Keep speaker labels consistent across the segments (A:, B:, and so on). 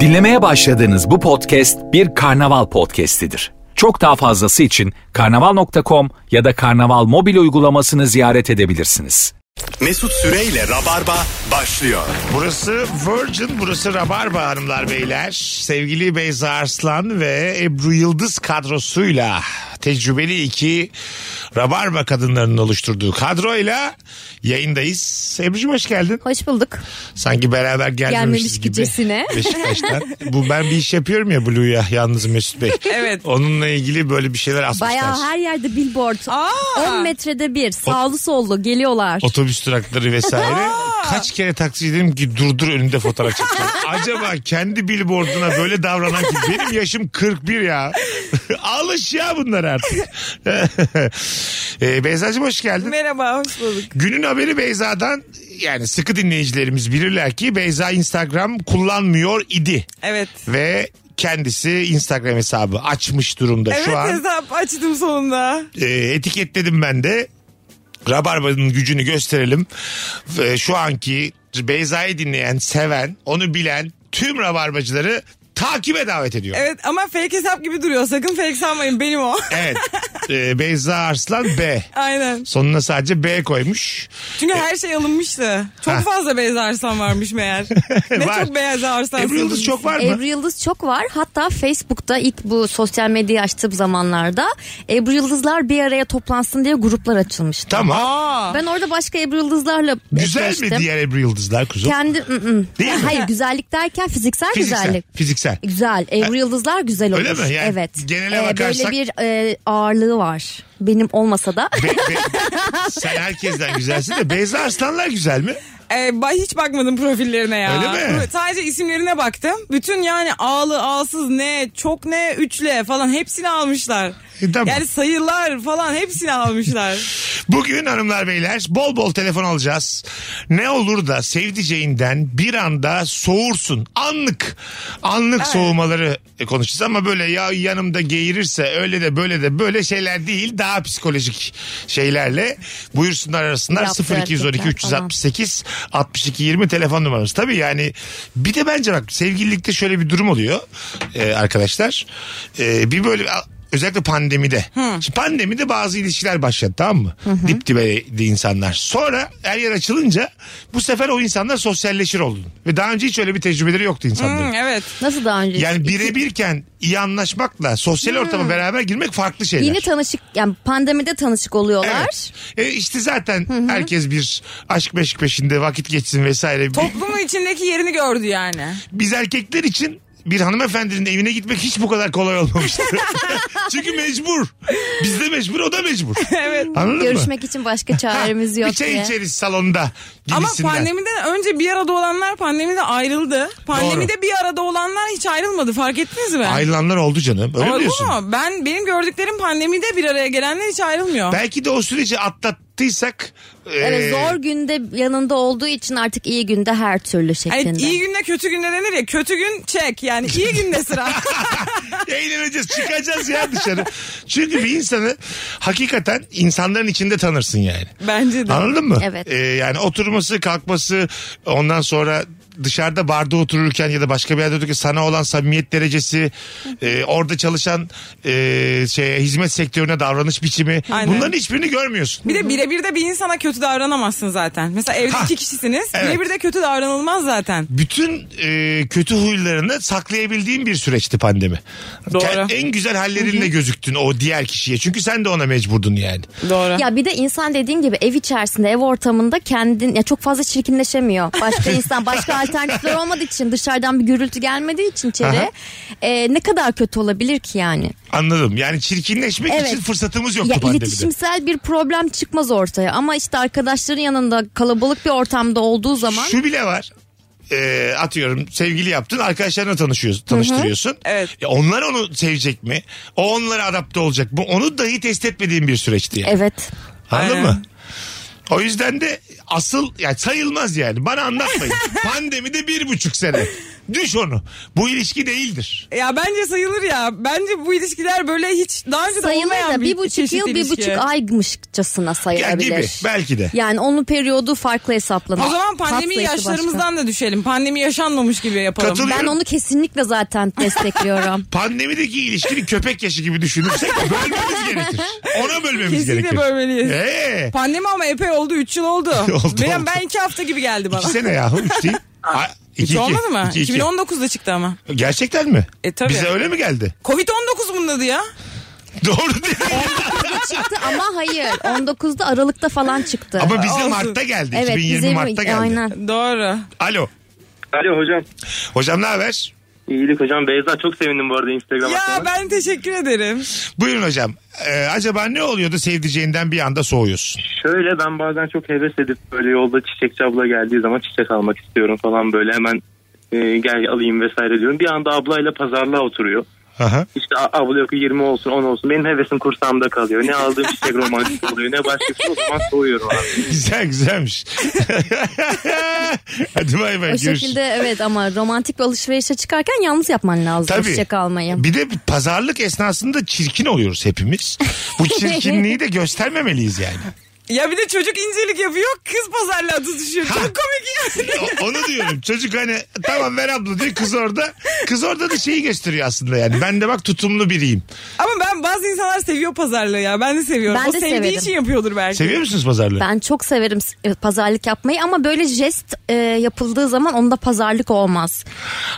A: Dinlemeye başladığınız bu podcast bir karnaval podcastidir. Çok daha fazlası için karnaval.com ya da karnaval mobil uygulamasını ziyaret edebilirsiniz.
B: Mesut Süreyle Rabarba başlıyor.
C: Burası Virgin, burası Rabarba hanımlar beyler. Sevgili Beyza Arslan ve Ebru Yıldız kadrosuyla tecrübeli iki Rabarba kadınlarının oluşturduğu kadroyla yayındayız. Ebru'cum hoş geldin.
D: Hoş bulduk.
C: Sanki beraber gelmemişiz
D: Gelmemiş
C: gibi.
D: gibicesine.
C: Beşiktaş'tan. Bu ben bir iş yapıyorum ya Blue'ya yalnız Mesut Bey.
E: Evet.
C: Onunla ilgili böyle bir şeyler asmışlar.
D: Bayağı her yerde billboard.
E: Aa!
D: 10 metrede bir sağlı sollu geliyorlar.
C: otobüs durakları vesaire. Kaç kere taksici dedim ki durdur önünde fotoğraf çekeceğim. Acaba kendi billboarduna böyle davranan kim? Benim yaşım 41 ya. Alış ya bunlar artık. e, Beyza'cığım hoş geldin.
E: Merhaba, hoş bulduk.
C: Günün haberi Beyza'dan yani sıkı dinleyicilerimiz bilirler ki Beyza Instagram kullanmıyor idi.
E: Evet.
C: Ve kendisi Instagram hesabı açmış durumda
E: Evet
C: şu an.
E: hesap açtım sonunda.
C: e, etiketledim ben de. Rabarba'nın gücünü gösterelim. E, şu anki Beyza'yı dinleyen, seven, onu bilen tüm Rabarbacıları takibe davet ediyor. Evet.
E: Evet ama fake hesap gibi duruyor. Sakın fake sanmayın benim o.
C: E, Beyza Arslan B.
E: Aynen.
C: Sonuna sadece B koymuş.
E: Çünkü her şey alınmıştı. Çok
C: Ha.
E: fazla beyaz arslan varmış meğer. ne
C: Var.
E: çok beyaz arslan.
C: Ebru Yıldız
E: sızmış.
C: çok var mı?
D: Ebru Yıldız çok var. Hatta Facebook'ta ilk bu sosyal medyayı açtığım zamanlarda Ebru Yıldızlar bir araya toplansın diye gruplar açılmıştı.
C: Tamam.
E: Aa.
D: Ben orada başka Ebru Yıldızlarla
C: Güzel mi
D: eşleştim.
C: diğer Ebru Yıldızlar kuzum?
D: Kendi ı, ı.
C: Değil mi?
D: Hayır güzellik derken fiziksel,
C: fiziksel.
D: güzellik.
C: Fiziksel.
D: Güzel. Ebru Yıldızlar güzel olur.
C: Öyle mi? Yani
D: evet.
C: genele
D: Ee,
C: bakarsak-
D: Böyle bir e, ağırlığı var. Benim olmasa da.
C: Be- be- sen herkesten güzelsin de Beyza Arslanlar güzel mi?
E: Ee, ben hiç bakmadım profillerine ya.
C: Öyle mi?
E: Pro- Sadece isimlerine baktım. Bütün yani ağlı ağsız ne çok ne üçle falan hepsini almışlar.
C: E, tamam.
E: Yani sayılar falan hepsini almışlar.
C: Bugün hanımlar beyler bol bol telefon alacağız. Ne olur da sevdiceğinden bir anda soğursun. Anlık. Anlık soğumaları e, konuşacağız ama böyle ya yanımda geğirirse öyle de böyle de böyle şeyler değil. Daha psikolojik şeylerle buyursunlar arasınlar
D: Yaptı
C: 0212
D: erkekler
C: 368 62 20 telefon numaramız. Tabii yani bir de bence bak sevgililikte şöyle bir durum oluyor e, arkadaşlar. E, bir böyle özellikle pandemide. Şimdi pandemide bazı ilişkiler başladı tamam mı? Dip dibeydi insanlar. Sonra her yer açılınca bu sefer o insanlar sosyalleşir oldu. Ve daha önce hiç öyle bir tecrübeleri yoktu insanların.
E: Hmm, evet.
D: Nasıl daha önce?
C: Yani birebirken iyi anlaşmakla sosyal ortama beraber girmek farklı şeyler.
D: Yeni tanışık yani pandemide tanışık oluyorlar.
C: Evet. E işte zaten herkes bir aşk meşk peşinde vakit geçsin vesaire. Bir-
E: Toplumun içindeki yerini gördü yani.
C: biz erkekler için bir hanımefendinin evine gitmek hiç bu kadar kolay olmamıştı. Çünkü mecbur. Biz de mecbur, o da mecbur.
E: Evet.
C: Anladın mı?
D: Görüşmek için başka çaremiz yok
C: bir çay
D: diye.
C: içeriz salonda
E: Ama
C: gibisinden.
E: pandemiden önce bir arada olanlar pandemide ayrıldı. Pandemide bir arada olanlar hiç ayrılmadı fark ettiniz mi?
C: Ayrılanlar oldu canım. Öyle mi
E: Oldu
C: diyorsun?
E: mu? Ben benim gördüklerim pandemide bir araya gelenler hiç ayrılmıyor.
C: Belki de o süreci atlattıysak
D: Evet,
C: e,
D: zor günde yanında olduğu için artık iyi günde her türlü şeklinde.
E: Yani iyi günde kötü günde denir ya kötü gün çek yani iyi günde sıra.
C: eğleneceğiz çıkacağız ya dışarı. Çünkü bir insanı hakikaten insanların içinde tanırsın yani.
E: Bence de.
C: Anladın mı?
D: Evet.
C: Ee, yani oturması, kalkması, ondan sonra dışarıda barda otururken ya da başka bir yerde otururken sana olan samimiyet derecesi, e, orada çalışan e, şey hizmet sektörüne davranış biçimi.
E: Aynen.
C: Bunların hiçbirini görmüyorsun.
E: Bir de birebir de bir insana kötü davranamazsın zaten. Mesela evde
C: Ha.
E: iki kişisiniz.
C: Evet.
E: Birebir de kötü davranılmaz zaten.
C: Bütün e, kötü huylarını saklayabildiğin bir süreçti pandemi.
E: Doğru.
C: Ke- En güzel hallerinle gözüktün o diğer kişiye. Çünkü sen de ona mecburdun yani.
E: Doğru.
D: Ya bir de insan dediğin gibi ev içerisinde, ev ortamında kendin ya çok fazla çirkinleşemiyor. Başka insan, başka alternatifler olmadığı için dışarıdan bir gürültü gelmediği için
C: Aha.
D: içeri e, ne kadar kötü olabilir ki yani?
C: Anladım. Yani çirkinleşmek
D: Evet.
C: için fırsatımız yoktu
D: Ya
C: pandemide.
D: iletişimsel bir problem çıkmaz ortaya ama işte arkadaşların yanında kalabalık bir ortamda olduğu zaman
C: Şu bile var. Ee, atıyorum sevgili yaptın arkadaşlarına tanışıyorsun tanıştırıyorsun.
E: Evet.
C: E, onlar onu sevecek mi? O onlara adapte olacak mı? Onu dahi test etmediğim bir süreçti yani.
D: evet.
C: Anladın
E: Aynen.
C: mı? O yüzden de asıl yani sayılmaz yani. Bana anlatmayın. Pandemide bir buçuk sene. Düş onu. Bu ilişki değildir.
E: Ya bence sayılır ya. Bence bu ilişkiler böyle hiç daha önce de
D: sayılır
E: olmayan
D: da
E: bir,
D: bir buçuk
E: çeşit
D: yıl bir
E: ilişki.
D: buçuk aymışçasına
C: Ya
D: sayılabilir.
C: gibi belki de.
D: Yani onun periyodu farklı hesaplanır.
E: O zaman pandemi
D: Hastayısı
E: yaşlarımızdan
D: başka.
E: da düşelim. Pandemi yaşanmamış gibi yapalım.
C: Katıl-
D: Ben onu kesinlikle zaten destekliyorum.
C: Pandemideki ilişkini köpek yaşı gibi düşünürsek bölmemiz gerekir. Ona bölmemiz
E: Kesinlikle
C: gerekir.
E: bölmeliyiz.
C: Ee,
E: Pandemi ama epey oldu. 3 yıl oldu.
C: Oldu,
E: Benim,
C: oldu.
E: Ben 2 hafta gibi geldi bana.
C: iki sene yahu üç değil. Ay, iki,
E: Hiç
C: iki.
E: olmadı mı?
C: İki, iki.
E: 2019'da çıktı ama.
C: Gerçekten mi?
E: E, tabii.
C: Bize öyle mi geldi?
E: Covid-19 bunun adı ya.
C: Doğru değil.
D: çıktı ama hayır. 19'da Aralık'ta falan çıktı.
C: Ama bize
E: Olsun.
C: Mart'ta geldi.
D: evet
C: 2020
D: bize
C: Mart'ta geldi.
D: aynen.
E: Doğru.
C: Alo.
F: Alo hocam.
C: Hocam ne haber?
F: İyilik hocam. Beyza çok sevindim bu arada Instagram
E: Ya
F: hakkında.
E: ben teşekkür ederim.
C: Buyurun hocam. Ee, acaba ne oluyordu sevdiceğinden bir anda soğuyorsun?
F: Şöyle ben bazen çok heves edip böyle yolda çiçekçi abla geldiği zaman çiçek almak istiyorum falan böyle hemen e, gel alayım vesaire diyorum. Bir anda ablayla pazarlığa oturuyor.
C: Aha.
F: İşte a- abla yok ki 20 olsun 10 olsun benim hevesim kursamda kalıyor. Ne aldığım çiçek romantik oluyor ne başkası o zaman soğuyorum abi.
C: Güzel güzelmiş. Hadi bay bay
D: O
C: görüşürüz.
D: şekilde evet ama romantik bir alışverişe çıkarken yalnız yapman lazım.
C: Tabii.
D: Çiçek almayı.
C: Bir de pazarlık esnasında çirkin oluyoruz hepimiz. Bu çirkinliği de göstermemeliyiz yani.
E: Ya bir de çocuk incelik yapıyor. Kız pazarlığa tutuşuyor. Çok komik yani.
C: O- onu diyorum. Çocuk hani tamam ver abla diyor kız orada. Kız orada da şeyi gösteriyor aslında yani. Ben de bak tutumlu biriyim.
E: Ama ben bazı insanlar seviyor pazarlığı ya. Ben de seviyorum.
D: Ben
E: o
D: de
E: sevdiği
D: severim.
E: için yapıyordur belki.
C: Seviyor musunuz pazarlığı?
D: Ben çok severim s- e, pazarlık yapmayı ama böyle jest e, yapıldığı zaman onda pazarlık olmaz.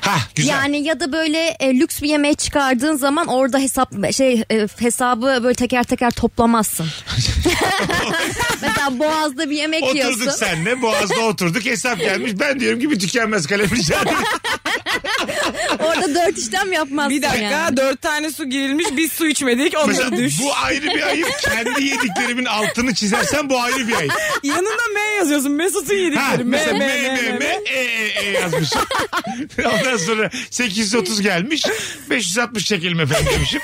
C: Ha güzel.
D: Yani ya da böyle e, lüks bir yemeğe çıkardığın zaman orada hesap şey e, hesabı böyle teker teker toplamazsın. Mesela Boğaz'da bir yemek
C: Oturduk
D: yiyorsun.
C: senle boğazda oturduk hesap gelmiş. Ben diyorum ki bir tükenmez kalem rica ederim.
D: Orada dört işlem yapmazsın
E: Bir dakika
D: yani.
E: dört tane su girilmiş biz su içmedik onları
C: Mesela
E: düş.
C: bu ayrı bir ayıp. Kendi yediklerimin altını çizersen bu ayrı bir ayıp.
E: Yanında M yazıyorsun Mesut'un
C: Ha,
E: yedikleri. M,
C: mesela
E: M,
C: M,
E: M, M, M.
C: E, E, E yazmışım. Ondan sonra 830 gelmiş. 560 çekelim efendim demişim.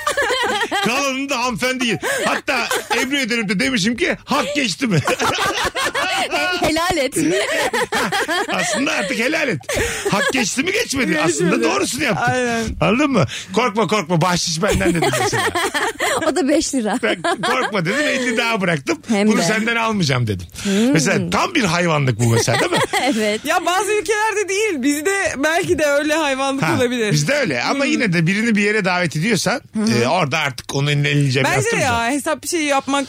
C: Kalanını da hanımefendi yer. Hatta Ebru ederim de demişim ki hak geçti mi?
D: Helal et.
C: Aslında artık helal et. Hak geçti mi geçmedi. Aslında doğrusunu yaptın.
E: Aynen.
C: Anladın mı? Korkma korkma bahşiş benden dedim mesela.
D: o da 5 lira.
C: Ben korkma dedim 50 daha bıraktım.
D: Hem
C: Bunu
D: de. Hmm.
C: senden almayacağım dedim. Mesela tam bir hayvanlık bu mesela değil mi?
D: evet.
E: Ya bazı ülkelerde değil bizde belki de öyle hayvanlık
C: Ha,
E: olabilir.
C: Bizde öyle
E: Hmm.
C: ama yine de birini bir yere davet ediyorsan e, orada artık onun eline elini cebine
E: Bence de
C: attıracaksın.
E: ya hesap bir şeyi yapmak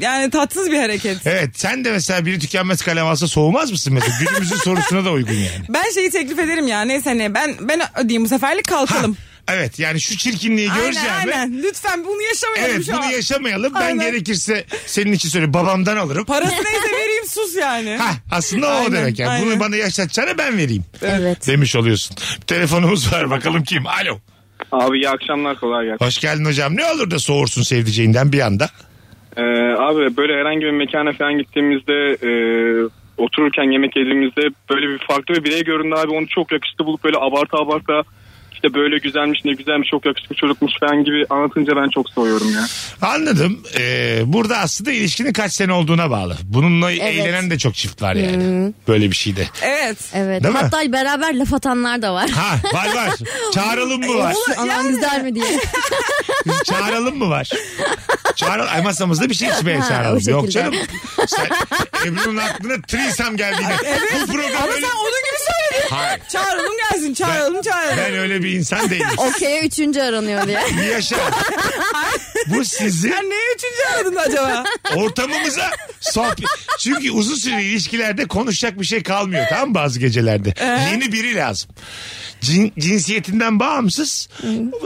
E: yani tatsız bir hareket.
C: Evet sen de mesela biri tükenmez kalem alsa soğumaz mısın mesela? Günümüzün sorusuna da uygun yani.
E: Ben şeyi teklif ederim ya neyse ne ben ben ödeyeyim bu seferlik
C: Ha,
E: kalkalım.
C: evet yani şu çirkinliği
E: aynen
C: göreceğim.
E: aynen lütfen bunu yaşamayalım
C: Evet
E: şu
C: bunu
E: an.
C: yaşamayalım.
E: Aynen.
C: Ben gerekirse senin için söyle babamdan alırım.
E: Parası neyse vereyim sus yani.
C: Ha aslında o
E: Aynen,
C: demek yani. Bunu
E: aynen.
C: bana yaşatacağına ben vereyim.
D: Evet.
C: Demiş oluyorsun. Bir telefonumuz var bakalım kim? Alo.
F: Abi iyi akşamlar kolay gelsin.
C: Hoş geldin hocam. Ne olur da soğursun sevdiceğinden bir anda.
F: Ee, abi böyle herhangi bir mekana falan gittiğimizde e, otururken yemek yediğimizde böyle bir farklı bir birey göründü abi. Onu çok yakışıklı bulup böyle abarta abarta işte böyle güzelmiş ne güzelmiş çok yakışıklı çocukmuş falan gibi anlatınca ben çok soğuyorum ya.
C: Anladım. Ee, burada aslında ilişkinin kaç sene olduğuna bağlı. Bununla
D: Evet.
C: eğlenen de çok çift var yani. Böyle bir şey şeyde.
E: Evet.
D: Evet.
C: Değil mi?
D: Hatta beraber laf atanlar da var.
C: Ha var var. Çağıralım mı var?
D: Anam güzel mi diye.
C: Çağıralım mı var? Çağıralım. Ay masamızda bir şey içmeye
D: Ha, o
C: çağıralım.
D: şekilde.
C: Yok canım. Sen, Ebru'nun aklına trisam geldi. yine. Bu program
E: Ama
C: öyle...
E: sen onun gibi söyledin.
C: Hayır.
E: Çağıralım gelsin çağıralım çağıralım.
C: Ben öyle bir insan değilim.
D: Okey'e üçüncü aranıyor diye.
C: Yaşa. Bu sizin
E: Sen neye üçüncü aradın acaba?
C: ortamımıza sohbet. Çünkü uzun süre ilişkilerde konuşacak bir şey kalmıyor tamam mı bazı gecelerde. Yeni biri lazım. Cin- cinsiyetinden bağımsız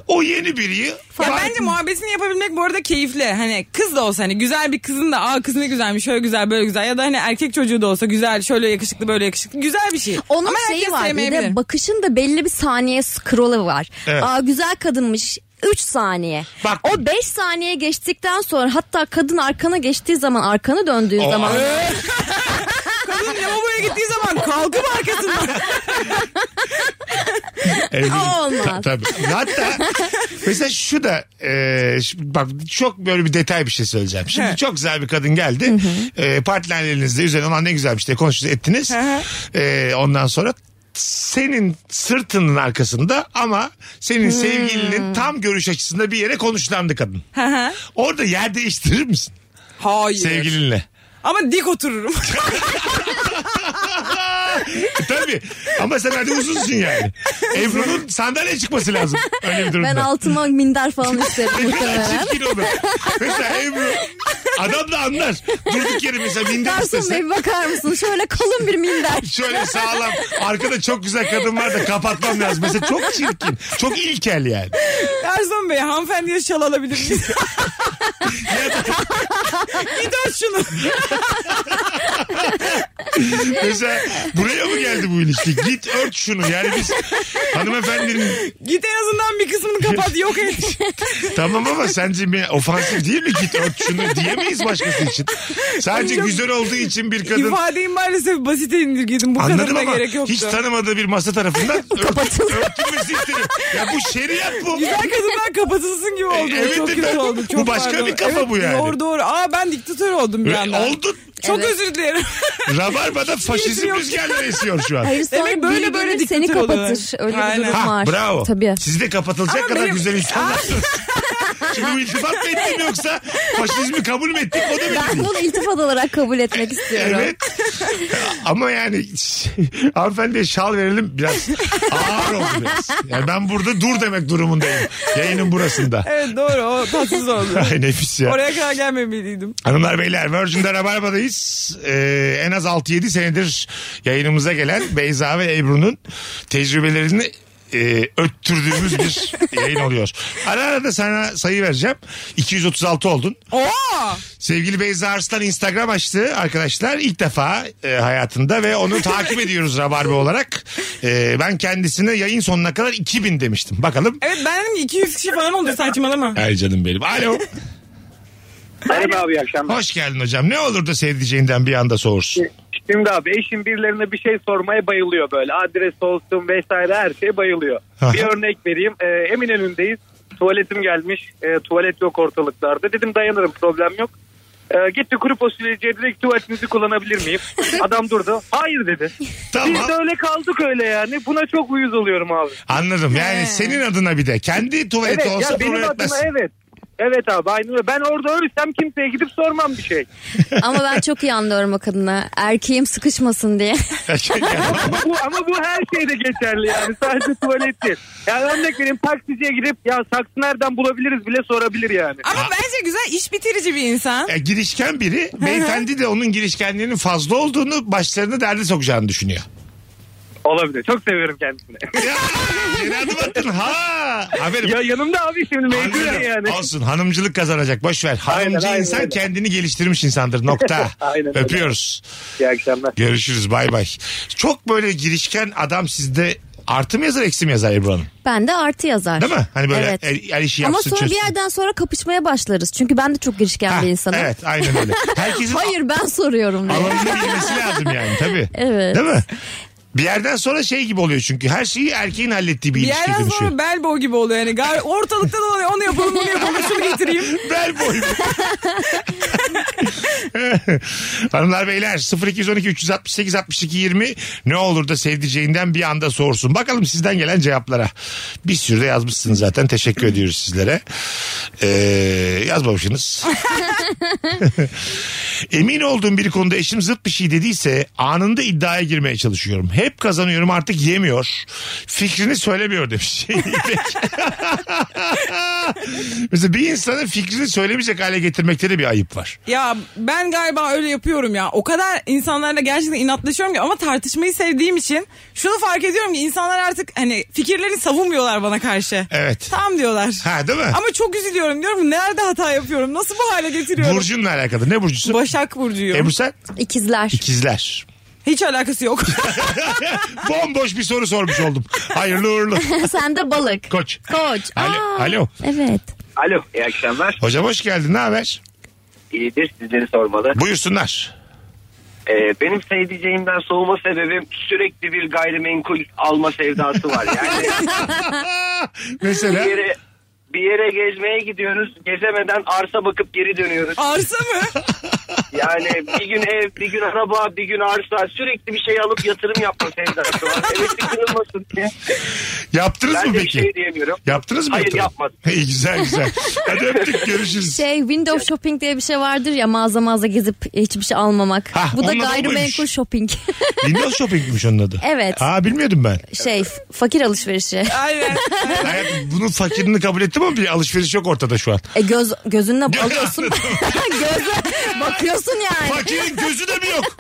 C: o yeni biriyi
E: Ya
C: fark-
E: bence muhabbetini yapabilmek bu arada keyifli. Hani kız da olsa hani güzel bir kızın da aa kız ne güzelmiş şöyle güzel böyle güzel ya da hani erkek çocuğu da olsa güzel şöyle yakışıklı böyle yakışıklı güzel bir şey.
D: Onun
E: Ama
D: şeyi
E: herkes
D: var bir
E: sevmeyebilir.
D: de bakışın da belli bir saniye scroll'ı var.
C: Evet.
D: Aa güzel kadınmış. 3 saniye.
C: Bak-
D: O 5 saniye geçtikten sonra hatta kadın arkana geçtiği zaman arkanı döndüğü
C: O-
D: zaman
E: Kadın lavaboya gittiği zaman kalkıp arkasından.
C: Evet.
D: Aa, olmaz.
C: Ta- tabii. Hatta mesela şu da e, şu- bak çok böyle bir detay bir şey söyleyeceğim. Şimdi
E: He.
C: çok güzel bir kadın geldi. E, partnerlerinizle üzerine olan ne güzelmiş diye konuştunuz şey ettiniz.
E: Hı hı.
C: E, ondan sonra senin sırtının arkasında ama senin sevgilinin tam görüş açısında bir yere konuşlandı kadın. Orada yer değiştirir misin
E: Hayır.
C: sevgilinle?
E: Ama dik otururum.
C: E, Tabii ama sen hadi uzunsun yani. Ebru'nun sandalye çıkması lazım öyle bir durumda.
D: Ben altıma minder falan isterim muhtemelen.
C: Çirkin olur. Mesela Ebru adam da anlar. Durduk yere mesela minder
D: Garson
C: istese.
D: bey bakar mısın? Şöyle kalın bir minder.
C: Şöyle sağlam. Arkada çok güzel kadın var da kapatmam lazım. Mesela çok çirkin. Çok ilkel yani.
E: Erson Bey hanımefendiye şal alabilir miyiz? Git aç şunu.
C: Mesela buraya mı geldi bu ilişki? Git ört şunu. Yani biz hanımefendinin
E: Git en azından bir kısmını kapat yok et.
C: tamam ama sence bir ofansif değil mi? Git ört şunu diyemeyiz başkası için. Sadece güzel olduğu için bir kadın
E: İfadeyi maalesef basite indirgedim. Bu
C: Anladım
E: kadarına
C: ama
E: gerek yoktu.
C: hiç tanımadığı bir masa tarafından ört,
D: Kapatıldı.
C: örtülmesi isterim. Ya bu şeriat bu.
E: Güzel kadınlar kapatılsın gibi oldu.
C: Evet,
E: çok
C: evet.
E: kötü oldu.
C: Bu
E: Çok
C: başka
E: pardon.
C: bir kafa bu yani.
E: Doğru doğru. Aa ben diktatör oldum bir anda.
C: Oldun.
E: Çok
D: Evet.
E: özür dilerim.
C: E, Rabarba'da faşizm
E: yok.
C: rüzgarları esiyor şu an.
D: Hayır sonra
E: Demek böyle
D: biri
E: böyle
D: gelir seni
E: diktatör oluyor.
D: kapatır. Öyle bir
E: Aynen.
D: durum
C: Ha
D: var.
C: bravo.
D: Tabii.
C: Siz de kapatılacak
E: Ama
C: kadar
E: benim-
C: güzel insanlarsınız. Şimdi bu iltifat mı ettim yoksa faşizmi kabul mü ettik o da
D: Ben
C: belli değil.
D: bunu iltifat olarak kabul etmek istiyorum.
C: Evet. Ama yani hanımefendiye şal verelim biraz ağır oldu biraz. Yani ben burada dur demek durumundayım. Yayının burasında.
E: evet doğru o tatsız oldu.
C: Ay nefis ya.
E: Oraya kadar gelmemeliydim.
C: Hanımlar beyler Virgin'de Rabarba'dayız. Ee, en az 6-7 senedir yayınımıza gelen Beyza ve Ebru'nun tecrübelerini e, öttürdüğümüz bir yayın oluyor. Ara ara da sana sayı vereceğim. 236 oldun.
E: Oo!
C: Sevgili Beyza Arslan Instagram açtı arkadaşlar ilk defa e, hayatında ve onu takip ediyoruz Rabarba olarak. E, ben kendisine yayın sonuna kadar 2000 demiştim. Bakalım.
E: Evet ben dedim ki 200 kişi falan oldu saçmalama.
C: Ay canım benim. Alo.
G: Merhaba abi iyi akşamlar.
C: Hoş geldin hocam. Ne olur da sevdiceğinden bir anda soğursun.
G: Şimdi abi eşim birilerine bir şey sormaya bayılıyor böyle. Adres olsun vesaire her şeye bayılıyor.
C: Aha.
G: bir örnek vereyim. Ee, Eminönü'ndeyiz. Tuvaletim gelmiş. Ee, tuvalet yok ortalıklarda. Dedim dayanırım problem yok. Ee, gitti kuru fasulyeciye direkt tuvaletinizi kullanabilir miyim? Adam durdu. Hayır dedi. Biz de
C: Tamam.
G: öyle kaldık öyle yani. Buna çok uyuz oluyorum abi.
C: Anladım. Yani
E: He.
C: senin adına bir de. Kendi tuvaleti
G: Evet
C: olsa
G: ya benim
C: problem
G: adıma
C: etmez.
G: evet. Evet abi aynı öyle. Ben orada ölürsem kimseye gidip sormam bir şey.
D: Ama ben çok iyi anlıyorum o kadına. Erkeğim sıkışmasın diye.
G: Ama bu, ama bu her şeyde geçerli yani sadece tuvalet değil. Yani örnek vereyim taksiciye gidip ya saksı nereden bulabiliriz bile sorabilir yani.
E: Ama bence güzel iş bitirici bir insan.
C: E, girişken biri beyefendi de onun girişkenliğinin fazla olduğunu başlarını derde sokacağını düşünüyor.
G: Olabilir çok seviyorum kendisini.
C: Ya, yeni adım attın ha. Aferin.
G: ya yanımda abi şimdi mecburen
C: Anladım.
G: yani.
C: Olsun hanımcılık kazanacak boş ver. Hanımcı
G: Aynen, aynen,
C: insan
G: aynen.
C: kendini geliştirmiş insandır nokta.
G: Aynen öyle.
C: Öpüyoruz.
G: İyi akşamlar.
C: Görüşürüz bay bay. Çok böyle girişken adam sizde artı mı yazar eksi mi yazar Ebru Hanım?
D: Ben de artı yazar.
C: Değil mi? Hani böyle
D: Evet.
C: el, el işi
D: Ama
C: yapsın
D: sonra bir
C: çözsün.
D: yerden sonra kapışmaya başlarız. Çünkü ben de çok girişken
C: Ha,
D: bir insanım.
C: Evet aynen öyle. Herkesin
D: Hayır ben soruyorum diye.
C: alanını bilmesi lazım yani tabii.
D: Evet.
C: Değil mi? Bir yerden sonra şey gibi oluyor çünkü her şeyi erkeğin hallettiği bir, şey
E: Bir
C: ilişki
E: yerden
C: dönüşüyor.
E: sonra bel bow gibi oluyor yani. Gar- Ortalıkta dolanıyor. Onu yapalım bunu yapalım şunu getireyim.
C: Bel boyu. Hanımlar beyler 0212 368 62 20 ne olur da sevdiceğinden bir anda sorsun. Bakalım sizden gelen cevaplara. Bir sürü de yazmışsınız zaten teşekkür ediyoruz sizlere. Ee, yazmamışsınız. Emin olduğum bir konuda eşim zıt bir şey dediyse anında iddiaya girmeye çalışıyorum. Hep kazanıyorum artık yemiyor. Fikrini söylemiyor demiş. İpek. Mesela bir insanın fikrini söylemeyecek hale getirmekte de bir ayıp var.
E: Ya ben galiba öyle yapıyorum ya. O kadar insanlarla gerçekten inatlaşıyorum ki ama tartışmayı sevdiğim için şunu fark ediyorum ki insanlar artık hani fikirlerini savunmuyorlar bana karşı.
C: Evet.
E: Tam diyorlar.
C: Ha değil mi?
E: Ama çok üzülüyorum diyorum ki, nerede hata yapıyorum? Nasıl bu hale getiriyorum?
C: Burcunla alakalı. Ne burcusun?
E: Başak Burcu'yum.
C: Ebru sen?
D: İkizler.
C: İkizler.
E: Hiç alakası yok.
C: Bomboş bir soru sormuş oldum. Hayırlı uğurlu.
D: Sen de balık.
C: Koç.
D: Koç.
C: Alo.
D: Aa,
C: Alo.
D: Evet.
G: Alo iyi akşamlar.
C: Hocam hoş geldin. Ne haber?
G: İyidir sizleri sormalı.
C: Buyursunlar.
G: Ee, benim sevdiceğimden soğuma sebebim sürekli bir gayrimenkul alma sevdası var. Yani bir
C: Mesela
G: yere, bir yere gezmeye gidiyoruz. Gezemeden arsa bakıp geri dönüyoruz.
E: Arsa mı?
H: Yani bir gün ev, bir gün araba, bir gün arsa sürekli bir şey alıp yatırım yapma sevdası var. Evet sıkılmasın diye.
C: Yaptınız
H: Ben
C: mı
H: de bir
C: peki?
H: şey diyemiyorum.
C: Yaptınız mı?
H: Hayır,
C: yatırım?
H: yapmadım.
C: İyi güzel güzel. Hadi öptük görüşürüz.
D: Şey window shopping diye bir şey vardır ya mağaza mağaza gezip hiçbir şey almamak.
C: Hah,
D: Bu da
C: onunla da
D: gayrimenkul
C: olmuyormuş.
D: shopping.
C: Windows Shopping'miş onun adı.
D: Evet.
C: Aa bilmiyordum ben.
D: şey f- fakir alışverişi.
E: Aynen.
C: Hayatım, bunun fakirini kabul ettim ama bir alışveriş yok ortada şu an.
D: E göz gözünle alıyorsun. Gözle bakıyorsun yani.
C: Fakirin gözü de mi yok?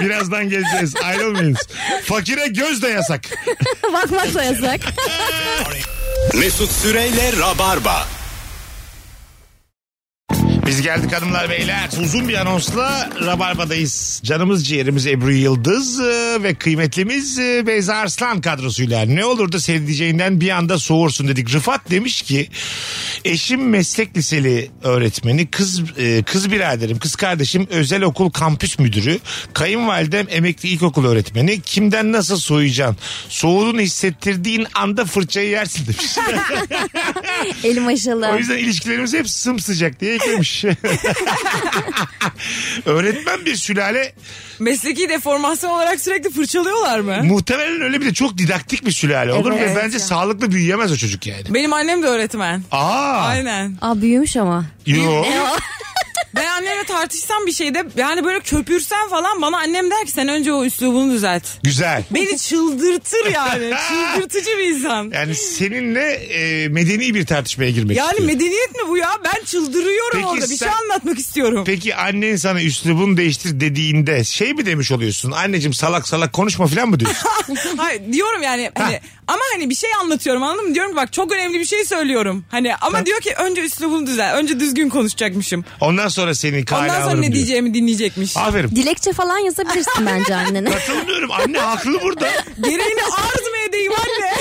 C: Birazdan geleceğiz. Ayrılmayınız. Fakire göz de yasak.
D: Bakmak da yasak.
B: Mesut Süreyle Rabarba.
C: Biz geldik hanımlar beyler. Uzun bir anonsla Rabarba'dayız. Canımız ciğerimiz Ebru Yıldız e, ve kıymetlimiz e, Beyza Arslan kadrosuyla. Ne olur da sevdiceğinden bir anda soğursun dedik. Rıfat demiş ki eşim meslek liseli öğretmeni, kız e, kız biraderim, kız kardeşim özel okul kampüs müdürü, kayınvalidem emekli ilkokul öğretmeni. Kimden nasıl soğuyacaksın? Soğuduğunu hissettirdiğin anda fırçayı yersin demiş.
D: Elim aşalı.
C: O yüzden ilişkilerimiz hep sımsıcak diye eklemiş. Öğretmen bir sülale
E: Mesleki deformasyon olarak sürekli fırçalıyorlar mı?
C: muhtemelen öyle bir de çok didaktik bir sülale olur
D: Evet.
C: ve bence sağlıklı büyüyemez o çocuk yani.
E: Benim annem de öğretmen.
C: Aa.
E: Aynen.
D: Aa büyümüş ama.
C: Yo.
E: Ben annemle tartışsam bir şeyde yani böyle köpürsem falan bana annem der ki sen önce o üslubunu düzelt.
C: Güzel.
E: Beni çıldırtır yani. Çıldırtıcı bir insan.
C: Yani seninle e, medeni bir tartışmaya girmek
E: Yani
C: istiyorum.
E: medeniyet mi bu ya? Ben çıldırıyorum
C: Peki
E: orada. Bir
C: sen-
E: şey anlatmak istiyorum.
C: Peki annen sana üslubunu değiştir dediğinde şey mi demiş oluyorsun? Anneciğim salak salak konuşma falan mı diyorsun?
E: Hayır, diyorum yani hani ama hani bir şey anlatıyorum anladın mı? Diyorum ki bak çok önemli bir şey söylüyorum. Hani ama diyor ki önce üslubunu düzel. Önce düzgün konuşacakmışım.
C: Ondan sonra senin kale
E: Ondan sonra
C: alırım
E: ne
C: diyor.
E: diyeceğimi dinleyecekmiş.
C: Aferin.
D: Dilekçe falan yazabilirsin bence annene.
C: Katılmıyorum. Anne haklı burada.
E: Gereğini arz mı edeyim anne?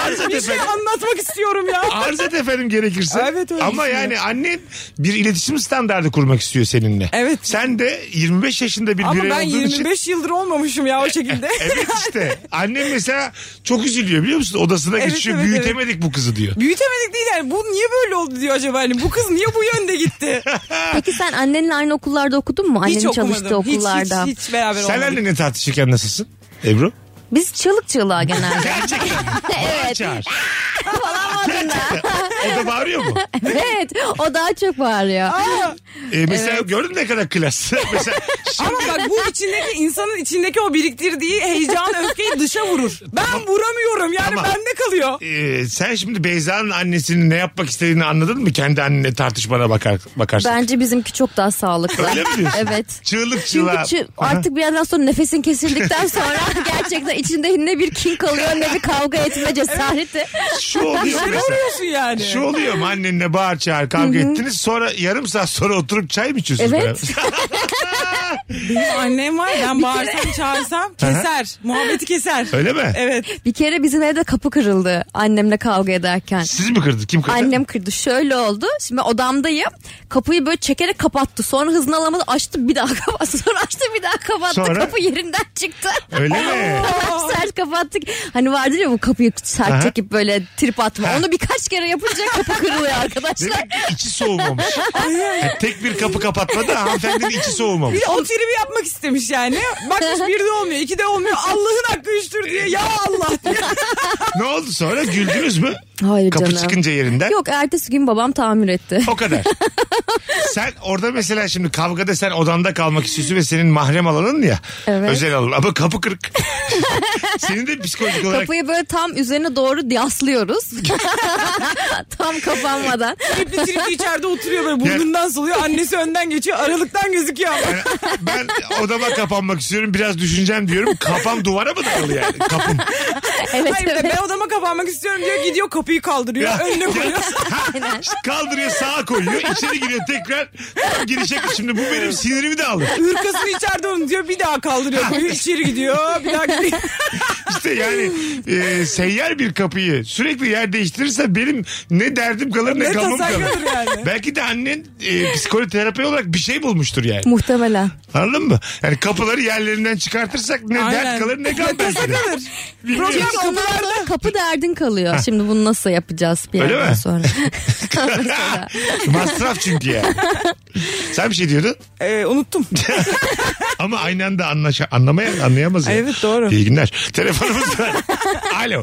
C: Arz et
E: bir şey
C: efendim.
E: anlatmak istiyorum ya.
C: Arz et efendim gerekirse.
E: Evet, öyle
C: Ama
E: düşünüyorum.
C: yani annen bir iletişim standardı kurmak istiyor seninle.
E: Evet.
C: Sen de 25 yaşında bir
E: Ama
C: birey
E: ben
C: olduğun için.
E: 25 yıldır olmamışım ya o şekilde.
C: Evet işte. Annem mesela çok üzülüyor biliyor musun? Odasına
E: Evet,
C: geçiyor.
E: evet,
C: Büyütemedik bu kızı diyor.
E: Büyütemedik değil yani bu niye böyle oldu diyor acaba hani bu kız niye bu yönde gitti?
D: Peki sen annenle aynı okullarda okudun mu? Annenin
E: hiç okumadım.
D: çalıştığı
E: Hiç,
D: okullarda.
E: Hiç, hiç, beraber
C: Sen
E: olmadık.
C: annenle tartışırken nasılsın? Ebru?
D: Biz çığlık çığlığa genelde.
C: Gerçekten. evet. Çağır. Gerçekten. O da bağırıyor mu?
D: evet o daha çok bağırıyor.
C: Ee, mesela gördün ne kadar klas. mesela
E: Ama bak bu içindeki insanın içindeki o biriktirdiği heyecan öfkeyi dışa vurur. Ben vuramıyorum yani
C: Tamam.
E: bende kalıyor.
C: e, sen şimdi Beyza'nın annesinin ne yapmak istediğini anladın mı? Kendi annenle tartışmana bakar, bakarsın.
D: Bence bizimki çok daha sağlıklı.
C: Öyle mi diyorsun?
D: Evet. Çünkü
C: Çığlık çığlığa.
D: çı- artık bir yerden sonra nefesin kesildikten sonra gerçekten içinde ne bir kin kalıyor ne bir kavga etme cesareti.
C: Şu oluyor
E: Dışarı
C: mesela.
E: vuruyorsun yani.
C: Şu oluyor mu annenle bağır çağır kavga ettiniz sonra yarım saat sonra oturup çay mı içiyorsunuz?
D: Evet.
C: beraber?
E: Benim annem var ben bağırsam çağırsam keser. Muhabbeti keser.
C: Öyle mi?
E: Evet.
D: Bir kere bizim evde kapı kırıldı annemle kavga ederken.
C: Siz mi kırdınız? Kim kırdı?
D: Annem kırdı. Şöyle oldu. Şimdi odamdayım. Kapıyı böyle çekerek kapattı. Sonra hızını alamadı. Açtı bir daha kapattı. Sonra açtı bir daha kapattı.
C: Sonra?
D: Kapı yerinden çıktı.
C: Öyle mi?
D: sert kapattık. Hani vardır ya bu kapıyı sert
C: Aha.
D: çekip böyle trip atma. Onu birkaç kere yapınca kapı kırılıyor arkadaşlar.
C: Demek ki içi soğumamış. Yani tek bir kapı kapatmadı hanımefendinin içi soğumamış.
E: Bir de o tribi yapmak istemiş yani. Bakmış bir de olmuyor iki de olmuyor. Allah'ın hakkı üçtür diye ya Allah diye.
C: Ne oldu sonra güldünüz mü?
D: Hayır
C: Kapı
D: canım.
C: çıkınca yerinden.
D: Yok ertesi gün babam tamir etti.
C: O kadar. sen orada mesela şimdi kavgada sen odanda kalmak istiyorsun ve senin mahrem alanın ya.
D: Evet.
C: Özel alan ama kapı kırık. senin de psikolojik olarak
D: Kapıyı böyle tam üzerine doğru yaslıyoruz. tam kapanmadan.
E: Tripli tripli içeride oturuyor böyle burnundan soluyor. Annesi önden geçiyor aralıktan gözüküyor. ama.
C: Yani ben odama kapanmak istiyorum. Biraz düşüneceğim diyorum. Kafam duvara mı dayalı yani? Kapım.
D: Evet
E: Hayır bir de
D: evet.
E: ben odama kapanmak istiyorum diyor gidiyor kapıyı kaldırıyor önüne koyuyor.
C: Kaldırıyor sağa koyuyor. içeri giriyor tekrar. Tam girişe şimdi bu benim sinirimi de alır.
E: Hırkasını içeride unutuyor bir daha kaldırıyor. Koyuyor, içeri gidiyor bir daha gidiyor.
C: İşte yani e, seyyar bir kapıyı sürekli yer değiştirirse benim ne derdim kalır ne,
E: Ne
C: gamım
E: tasak
C: kalır.
E: olur yani.
C: Belki de annen e, psikoterapi olarak bir şey bulmuştur yani.
D: Muhtemelen.
C: Anladın mı? Yani kapıları yerlerinden çıkartırsak ne
E: Aynen.
C: dert kalır ne gam
E: Ne tasak
C: belki de.
E: kalır. Problem
D: Çünkü ondan
E: odalarda.
D: sonra kapı derdin kalıyor. Şimdi bunu nasıl yapacağız bir
C: Öyle
D: yerden
C: mi?
D: sonra. Mesela.
C: Masraf çünkü ya. Sen bir şey diyordun
E: Ee, unuttum.
C: ama aynı anda anlaşa, anlamaya, anlayamaz ya.
E: Evet, doğru.
C: İyi günler. Telefonumuz var. Alo.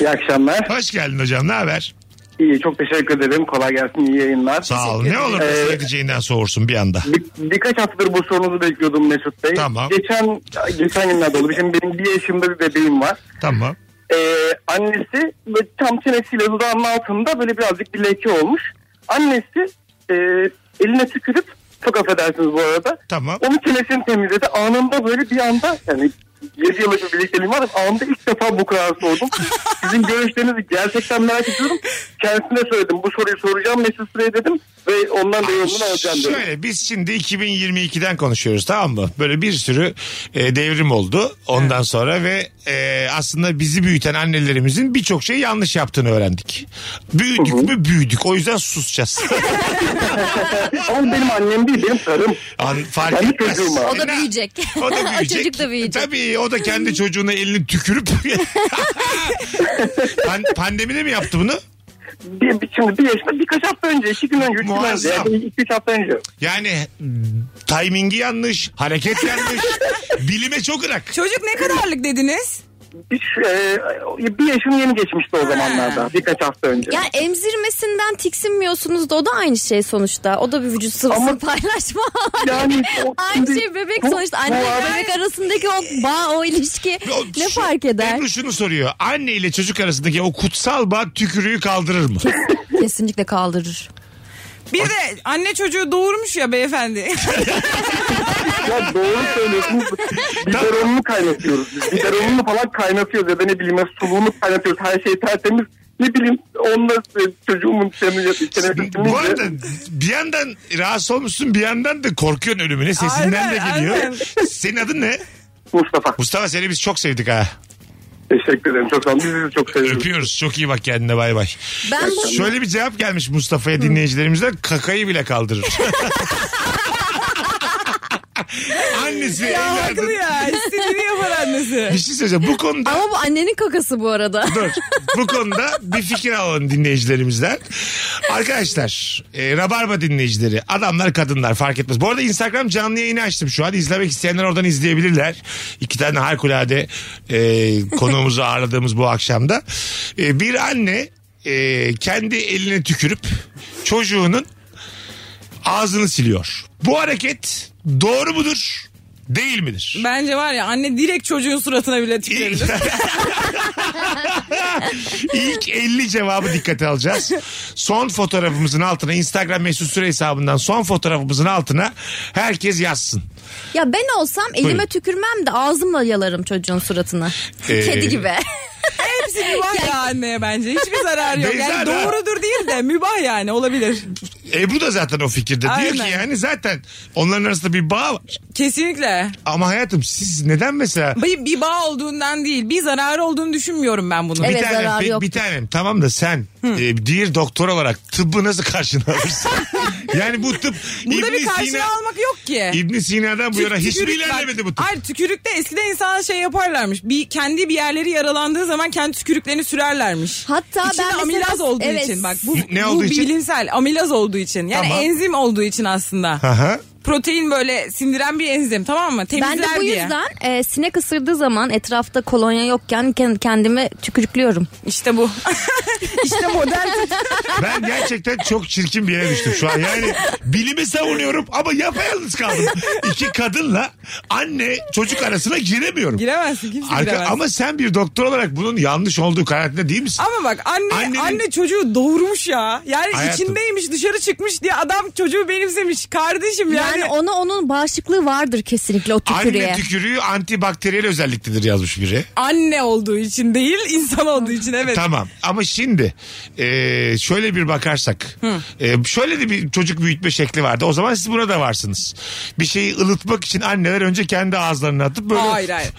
I: İyi akşamlar.
C: Hoş geldin hocam ne haber?
I: İyi çok teşekkür ederim. Kolay gelsin. iyi yayınlar.
C: Sağ ol. Ne olur nasıl
I: Ee,
C: edeceğinden soğursun bir anda.
I: Bir- birkaç haftadır bu sorunuzu bekliyordum Mesut Bey.
C: Tamam.
I: Geçen geçen günlerde oldu. Şimdi benim bir yaşımda bir bebeğim var.
C: Tamam.
I: Ee, annesi böyle tam çenesiyle dudağının altında böyle birazcık bir leke olmuş. Annesi e, eline tükürüp çok affedersiniz bu arada.
C: Tamam.
I: Onu çenesini temizledi. Anında böyle bir anda yani 7 yıllık bir birlikteliğim var. Anında ilk defa bu kadar sordum. Sizin görüşlerinizi gerçekten merak ediyorum. Kendisine söyledim. Bu soruyu soracağım Mesut Süre'ye dedim. Ve ondan da yorumunu alacağım dedim.
C: Şöyle biz şimdi 2022'den konuşuyoruz tamam mı? Böyle bir sürü e, devrim oldu ondan sonra ve e, aslında bizi büyüten annelerimizin birçok şeyi yanlış yaptığını öğrendik. Büyüdük mü büyüdük o yüzden susacağız.
I: Ama benim annem değil benim sarım.
C: An, fark
I: Kendi
C: etmez.
I: çocuğum var.
D: O da
C: Ne-
D: büyüyecek.
C: O da büyüyecek.
D: Çocuk da büyüyecek.
C: Tabii o da kendi çocuğuna elini tükürüp. Pan- pandemide mi yaptı bunu?
I: Bir, bir- şimdi bir yaşında birkaç hafta önce, iki gün önce, üç gün önce.
C: Muazzam.
I: Yani iki üç hafta önce.
C: Yani mm, timingi yanlış, hareket yanlış, bilime çok ırak.
E: Çocuk ne kadarlık dediniz?
I: Bir, e, bir yaşını yeni geçmişti o zamanlarda. Birkaç hafta önce.
D: Yani emzirmesinden tiksinmiyorsunuz da o da aynı şey sonuçta. O da bir vücut sıvısını
I: Ama-
D: paylaşma.
I: Yani o-
D: aynı şey bebek
I: Bu-
D: sonuçta. Anne
I: bu abi-
D: bebek arasındaki o bağ, o ilişki
C: O
D: ne
C: şu-
D: fark eder?
C: Ebru şunu soruyor. Anne ile çocuk arasındaki o kutsal bağ tükürüğü kaldırır mı?
D: Kesinlikle kaldırır.
E: Bir de anne çocuğu doğurmuş ya beyefendi.
I: Ya doğru söylüyorsunuz. Biberonunu kaynatıyoruz. biz. Biberonunu falan kaynatıyoruz ya da ne bileyim suluğunu kaynatıyoruz. Her şey tertemiz. Ne bileyim onunla e, çocuğumun çenesi
C: Bu arada bir yandan rahatsız olmuşsun bir yandan da korkuyorsun ölümüne. Sesinden de
E: Aynen,
C: geliyor.
E: aynen.
C: Senin adın ne?
I: Mustafa.
C: Mustafa seni biz çok sevdik ha.
I: Teşekkür ederim. Çok sağ olun. Biz sizi çok seviyoruz.
C: Öpüyoruz. Çok iyi bak kendine bay bay.
D: Ben bu
C: Şöyle bir cevap gelmiş Mustafa'ya dinleyicilerimizden. Kakayı bile kaldırır. Annesi
E: ya
C: evladı-
E: haklı ya. İstediğini yapar annesi.
C: Bir şey söyleyeceğim. Bu konuda
D: ama bu annenin kakası bu arada.
C: Dur. Bu konuda bir fikir alalım dinleyicilerimizden. Arkadaşlar, e, Rabarba dinleyicileri, adamlar kadınlar fark etmez. Bu arada Instagram canlı yayını açtım şu an. İzlemek isteyenler oradan izleyebilirler. İki tane harikulade e, konuğumuzu ağırladığımız bu akşamda. E, bir anne e, kendi eline tükürüp çocuğunun ağzını siliyor. Bu hareket doğru mudur? Değil midir?
E: Bence var ya anne direkt çocuğun suratına bile
C: İlk,
E: tükürebilir.
C: İlk 50 cevabı dikkate alacağız. Son fotoğrafımızın altına Instagram mesut süre hesabından son fotoğrafımızın altına herkes yazsın.
D: Ya ben olsam elime
C: Buyurun.
D: tükürmem de ağzımla yalarım çocuğun suratını.
C: Ee,
D: Kedi gibi.
E: Hepsi mübah ya anneye bence. Hiçbir zararı yok.
C: Beyza
E: Yani
C: da-
E: doğrudur değil de mübah yani olabilir.
C: Ebru da zaten o fikirde. Diyor
E: Aynen.
C: ki yani zaten onların arasında bir bağ var.
E: Kesinlikle.
C: Ama hayatım siz neden mesela
E: Bir, bir bağ olduğundan değil bir zararı olduğunu düşünmüyorum ben bunun.
D: Evet.
C: bir tanem,
D: zararı
C: bir,
D: yoktur.
C: bir tanem tamam da sen e, diğer doktor olarak tıbbı nasıl karşına alırsın? yani bu tıp
E: Burada
C: İbn
E: bir karşılığı
C: Sina,
E: almak yok ki.
C: İbn Sina'dan bu yana hiç mi
E: Tükürük-
C: ilerlemedi bu
E: bak,
C: tıp?
E: Hayır tükürükte eskiden insanlar şey yaparlarmış. Bir kendi bir yerleri yaralandığı zaman kendi tükürüklerini sürerlermiş.
D: Hatta
E: İçinde
D: ben mesela-
E: amilaz olduğu
D: Evet.
E: için bak bu,
C: Ne
E: bu
C: olduğu için?
E: bilimsel amilaz olduğu için. Yani
C: Tamam.
E: enzim olduğu için aslında.
C: Aha.
E: Protein böyle sindiren bir enzim tamam mı? Temizler
D: Ben de bu
E: diye.
D: yüzden e, sinek ısırdığı zaman etrafta kolonya yokken ken- kendimi tükürüklüyorum.
E: İşte bu. işte modern
C: Ben gerçekten çok çirkin bir yere düştüm şu an. Yani bilimi savunuyorum ama yapayalnız kaldım. İki kadınla anne çocuk arasına giremiyorum.
E: giremezsin kimse
C: Arka-
E: giremez. Ama,
C: ama sen bir doktor olarak bunun yanlış olduğu kanaatinde değil misin?
E: bak anne
C: Annenin-
E: anne çocuğu doğurmuş ya. Yani
C: Hayatım.
E: içindeymiş dışarı çıkmış diye adam çocuğu benimsemiş. Kardeşim
D: Yani,
E: yani.
D: ona onun bağışıklığı vardır kesinlikle o tükürüğe.
C: Anne tükürüğü antibakteriyel özelliktedir yazmış biri.
E: Anne olduğu için değil insan olduğu için evet.
C: Tamam ama şimdi e, şöyle bir bakarsak e, şöyle de bir çocuk büyütme şekli vardı. O zaman siz buna da varsınız. Bir şeyi ılıtmak için anneler önce kendi ağızlarına atıp böyle
E: Hayır hayır.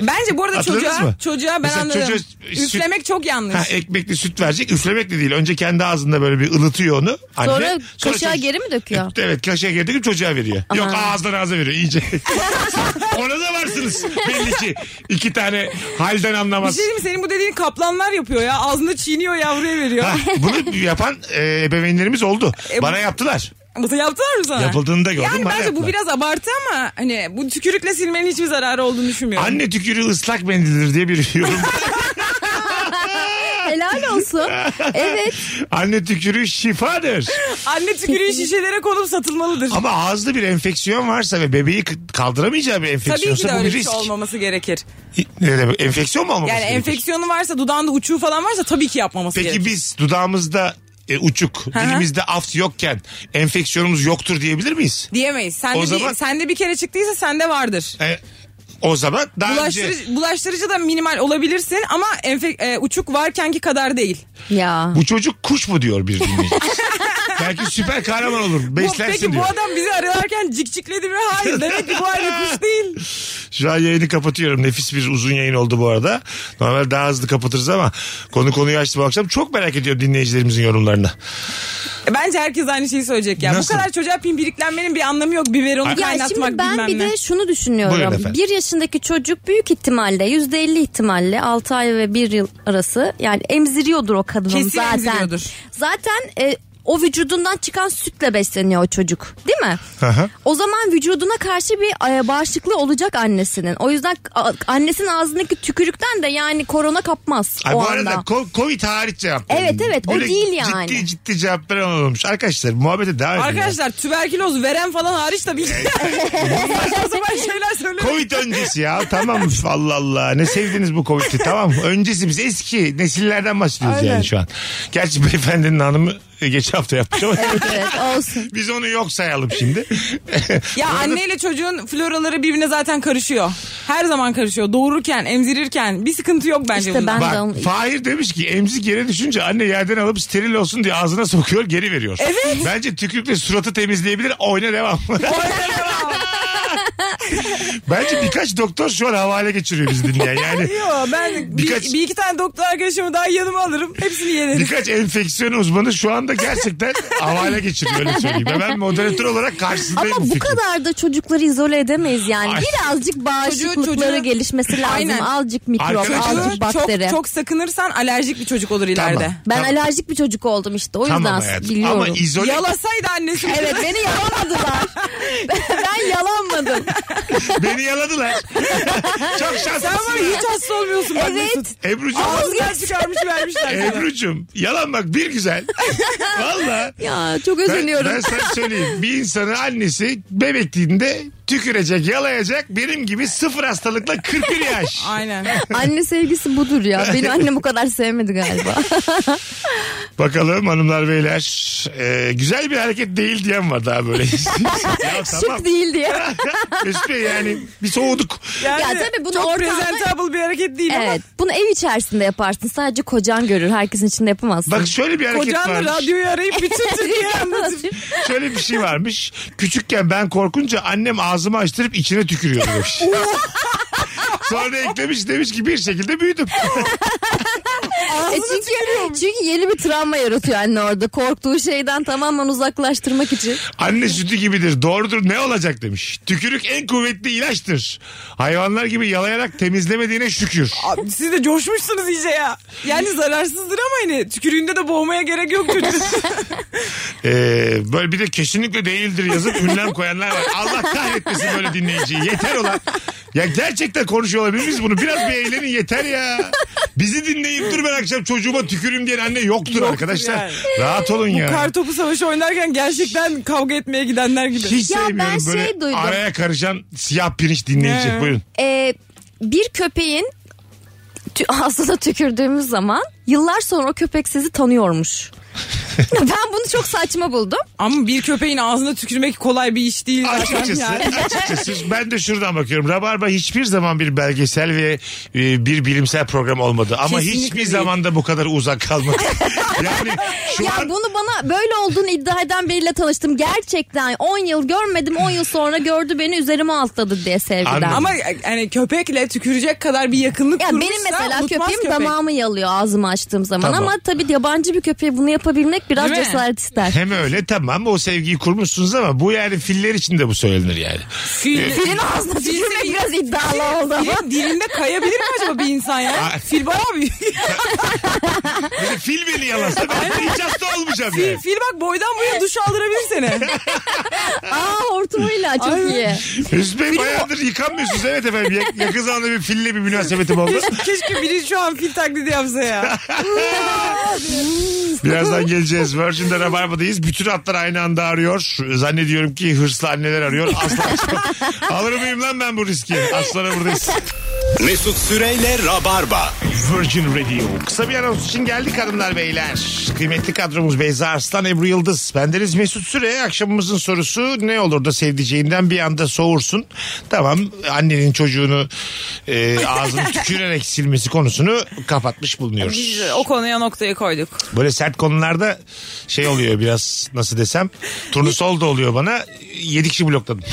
E: Bence bu arada
C: Hatırladınız
E: çocuğa,
C: mı?
E: çocuğa ben
C: Mesela
E: anladım.
C: çocuğa süt-
E: Üflemek çok yanlış.
C: Ha, e, ekmekli süt verecek. Üflemek de değil. Önce kendi ağzında böyle bir ılıtıyor onu. Anne.
D: Sonra kaşığa
C: çocuk- E,
D: geri mi döküyor?
C: Evet kaşığa geri döküp çocuğa veriyor. Yok
D: Aman.
C: ağızdan ağza veriyor iyice. Ona da varsınız. Belli ki iki tane halden
E: Bir
C: anlamaz.
E: şey diyeyim mi? senin bu dediğin kaplanlar yapıyor ya. Ağzında çiğniyor yavruya veriyor.
C: Ha, bunu yapan e, ebeveynlerimiz oldu.
E: E, bu-
C: Bana yaptılar.
E: Bu yaptılar mı sana?
C: Yapıldığını da gördüm,
E: Yani
C: bana
E: bence bu
C: yaptılar.
E: biraz abartı ama hani bu tükürükle silmenin hiçbir zararı olduğunu düşünmüyorum.
C: Anne tükürüğü ıslak mendildir diye bir yorum.
D: Helal olsun. Evet.
C: Anne tükürüğü şifadır.
E: Anne tükürüğü şişelere konup satılmalıdır.
C: Ama ağızda bir enfeksiyon varsa ve bebeği k- kaldıramayacağı bir
E: Tabii ki de
C: enfeksiyonsa bu
E: öyle
C: bir
E: bir
C: risk.
E: şey olmaması gerekir.
C: Ne demek? Enfeksiyon mu olmaması
E: Yani
C: gerekir?
E: enfeksiyonu varsa dudağında uçuğu falan varsa tabii ki yapmaması
C: Peki
E: gerekir.
C: biz dudağımızda e, uçuk,
E: hı.
C: dilimizde aft yokken enfeksiyonumuz yoktur diyebilir miyiz?
E: Diyemeyiz. Sen
C: O
E: de
C: zaman-
E: bir, sende bir kere çıktıysa sende vardır.
C: E, o zaman daha önce
E: Bulaştırıcı, bulaştırıcı da minimal olabilirsin ama enfe- e, uçuk varkenki kadar değil.
D: Ya.
C: bu çocuk kuş mu diyor bir dinleyicimiz. Belki süper kahraman olur.
E: Bu,
C: Beslersin
E: peki
C: diyor.
E: bu adam bizi ararken cikcikledi mi? Hayır demek ki bu aynı kuş değil.
C: Şu an yayını kapatıyorum. Nefis bir uzun yayın oldu bu arada. Normal daha hızlı kapatırız ama konu konuyu açtı bu akşam. Çok merak ediyorum dinleyicilerimizin yorumlarını.
E: E, Bence herkes aynı şeyi söyleyecek ya.
C: Nasıl?
E: Bu kadar çocuğa pimpiriklenmenin bir anlamı yok. Biberonu
D: Ya
E: kaynatmak
D: şimdi ben
E: bilmem
D: bir
E: ne.
D: de şunu
C: Buyurun
D: düşünüyorum.
C: efendim.
D: Bir yaşındaki çocuk büyük ihtimalle yüzde elli ihtimalle 6 ay ve bir yıl arası yani emziriyordur o kadın
E: Kesin
D: zaten.
E: emziriyordur.
D: Zaten e, o vücudundan çıkan sütle besleniyor o çocuk değil mi?
C: Aha.
D: O zaman vücuduna karşı bir e, bağışıklığı olacak annesinin. O yüzden a- annesinin ağzındaki tükürükten de yani korona kapmaz
C: Ay,
D: o
C: bu
D: anda.
C: arada ko- Covid hariç cevap
D: Evet,
C: verin.
D: evet, o
C: Böyle
D: değil yani.
C: Ciddi ciddi cevap veren olmuş. Arkadaşlar muhabbete devam edin. ya.
E: Arkadaşlar tüberküloz veren falan hariç tabii ki. Saçma sapan şeyler söylüyor.
C: Covid öncesi ya tamam mı? Allah Allah ne sevdiniz bu Covid'i tamam mı? Öncesi biz eski nesillerden bahsediyoruz
E: Aynen.
C: yani şu an. Gerçi beyefendinin hanımı e, geçen hafta yapmış ama
D: Evet evet olsun.
C: biz onu yok sayalım şimdi.
E: Ya anneyle çocuğun floraları birbirine zaten karışıyor. Her zaman karışıyor. Doğururken, emzirirken bir sıkıntı yok bence
D: İşte
E: bunda.
D: ben-
C: Bak
D: de onu-
C: Fahir demiş ki emzik yere düşünce anne yerden alıp steril olsun diye ağzına sokuyor geri veriyor.
E: Evet.
C: Bence tükürükle suratı temizleyebilir oyna devam. Bence birkaç doktor şu an havale geçiriyor biz dinleyen yani.
E: Yok ben
C: Birkaç-
E: bir, bir iki tane doktor arkadaşımı daha yanıma alırım. Hepsini yenerim.
C: Birkaç enfeksiyon uzmanı şu anda gerçekten havale geçiriyor öyle söyleyeyim. Ve Ben moderatör olarak karşısındayım.
D: Ama bu
C: fikrin.
D: kadar da çocukları izole edemeyiz yani.
C: Ay.
D: Birazcık bağışıklıkları
E: Çocuğu- çocuğu-
D: gelişmesi lazım.
E: Aynen.
D: Azıcık mikrop,
C: Arkadaşlar-
D: azıcık
E: Çocuğu
D: bakteri.
E: çok, çok sakınırsan alerjik bir çocuk olur ileride.
D: Ben
C: Tamam.
D: alerjik bir çocuk oldum işte. O yüzden
C: Tamam hayatım.
D: biliyorum.
C: Ama izole
E: Yalasaydı annesi.
D: Evet beni yalamadılar. ben yalanmadım.
C: beni yaladılar. Çok
E: Sen
C: şanslısın.
E: var ya, hiç hasta olmuyorsun. bak Mesut.
D: Evet.
C: Ebru'cum.
E: Ağzından çıkarmış vermişler sana.
C: Ebru'cum yalan bak bir güzel. Valla.
D: Ya çok
C: Ben,
D: özeniyorum.
C: ben sana söyleyeyim. Bir insanın annesi bebekliğinde tükürecek, yalayacak. Benim gibi sıfır hastalıkla 41 yaş.
E: Aynen.
D: Anne sevgisi budur ya. Beni annem bu kadar sevmedi galiba.
C: Bakalım hanımlar beyler. Ee, güzel bir hareket değil diyen var daha böyle. ya tamam.
D: Şık değil diye.
C: Mesut Bey yani bir soğuduk.
E: Yani
D: Ya tabii bunu
E: çok
D: ortamda-
E: presentable bir hareket değil
D: Evet. Bunu ev içerisinde yaparsın. Sadece kocan görür. Herkesin içinde yapamazsın.
C: Bak şöyle bir
E: ama
C: hareket
E: kocanla
C: varmış.
E: radyoyu arayıp bütün Türkiye'ye anlatıp
C: Şöyle bir şey varmış. Küçükken ben korkunca annem ağzımı açtırıp içine tükürüyordu demiş. Sonra eklemiş demiş ki bir şekilde büyüdüm.
D: E çünkü, çünkü yeni bir travma yaratıyor anne orada. Korktuğu şeyden tamamen uzaklaştırmak için.
C: Anne sütü gibidir doğrudur ne olacak demiş. Tükürük en kuvvetli ilaçtır. Hayvanlar gibi yalayarak temizlemediğine şükür.
E: Abi siz de coşmuşsunuz iyice ya. Yani zararsızdır ama hani tükürüğünde de boğmaya gerek yok çocuğun.
C: Ee, böyle bir de kesinlikle değildir yazıp ünlem koyanlar var. Allah kahretmesin böyle dinleyiciyi. Yeter ulan. Ya gerçekten konuşuyor olabilir miyiz bunu? Biraz bir eğlenin yeter ya. Bizi dinleyip dur ben akşam çocuğuma tükürüm diyen anne yoktur, arkadaşlar.
E: yani.
C: Rahat olun ya.
E: Kartopu savaşı oynarken gerçekten kavga etmeye gidenler gibi.
C: Hiç
D: Ya ben
C: sevmiyorum böyle
D: şey duydum.
C: araya karışan siyah pirinç dinleyici.
E: Ne?
C: Buyurun.
D: Ee, bir köpeğin tü- ağzına tükürdüğümüz zaman yıllar sonra o köpek sizi tanıyormuş. ben bunu çok saçma buldum.
E: Ama bir köpeğin ağzına tükürmek kolay bir iş değil. zaten
C: Açıkçası,
E: yani.
C: açıkçası ben de şuradan bakıyorum. Rabarba hiçbir zaman bir belgesel ve e, bir bilimsel program olmadı. Ama
E: Kesinlikle
C: hiçbir
E: değil.
C: zaman da bu kadar uzak kalmadı. Yani şu
D: ya
C: an
D: bunu bana böyle olduğunu iddia eden biriyle tanıştım. Gerçekten 10 yıl görmedim 10 yıl sonra gördü beni üzerime atladı diye sevgiden.
C: Anladım.
E: Ama yani köpekle tükürecek kadar bir yakınlık
D: Ya
E: kurmuşsa
D: benim mesela
E: unutmaz
D: köpeğim
E: köpek.
D: damağımı yalıyor ağzımı açtığım zaman
C: Tamam.
D: ama tabii yabancı bir köpeğe bunu yapabilmek biraz
E: Değil mi?
D: cesaret ister.
C: hem öyle tamam o sevgiyi kurmuşsunuz ama bu yani filler için de bu söylenir yani. Ee.
E: Fil,
D: Filin ağzına tükürmek biraz iddialı oldu ama.
E: Filin dilinde kayabilir mi acaba bir insan ya?
C: Ay.
E: Fil bayağı bir...
C: Yani fil beni yalasa ben hiç hasta olmayacağım
E: fil,
C: yani.
E: fil bak boydan boya duş aldırabilir seni.
D: Aa hortumuyla çok
E: Ay.
D: iyi.
C: Mesut Bey bayağıdır yıkanmıyorsunuz evet efendim. Ya- Yakın zamanda bir fille bir münasebetim oldu.
E: Keşke biri şu an fil taklidi yapsa ya.
C: Birazdan geleceğiz. Virgin'de Rabarba'dayız. Bütün hatlar aynı anda arıyor. Zannediyorum ki hırslı anneler arıyor. Aslan alır mıyım lan ben bu riski? Aslan'a buradayız.
B: Mesut Süreyle Rabarba.
C: Virgin Radio. Kısa bir anons için geldik hanımlar beyler. Kıymetli kadromuz Beyza Arslan, Ebru Yıldız. Bendeniz Mesut Süre. Akşamımızın sorusu ne olur da sevdiceğinden bir anda soğursun. Tamam annenin çocuğunu e, ağzını tükürerek silmesi konusunu kapatmış bulunuyoruz.
E: Biz o konuya noktayı koyduk.
C: Böyle sert konularda şey oluyor biraz nasıl desem turnusol da oluyor bana. Yedi kişi blokladım.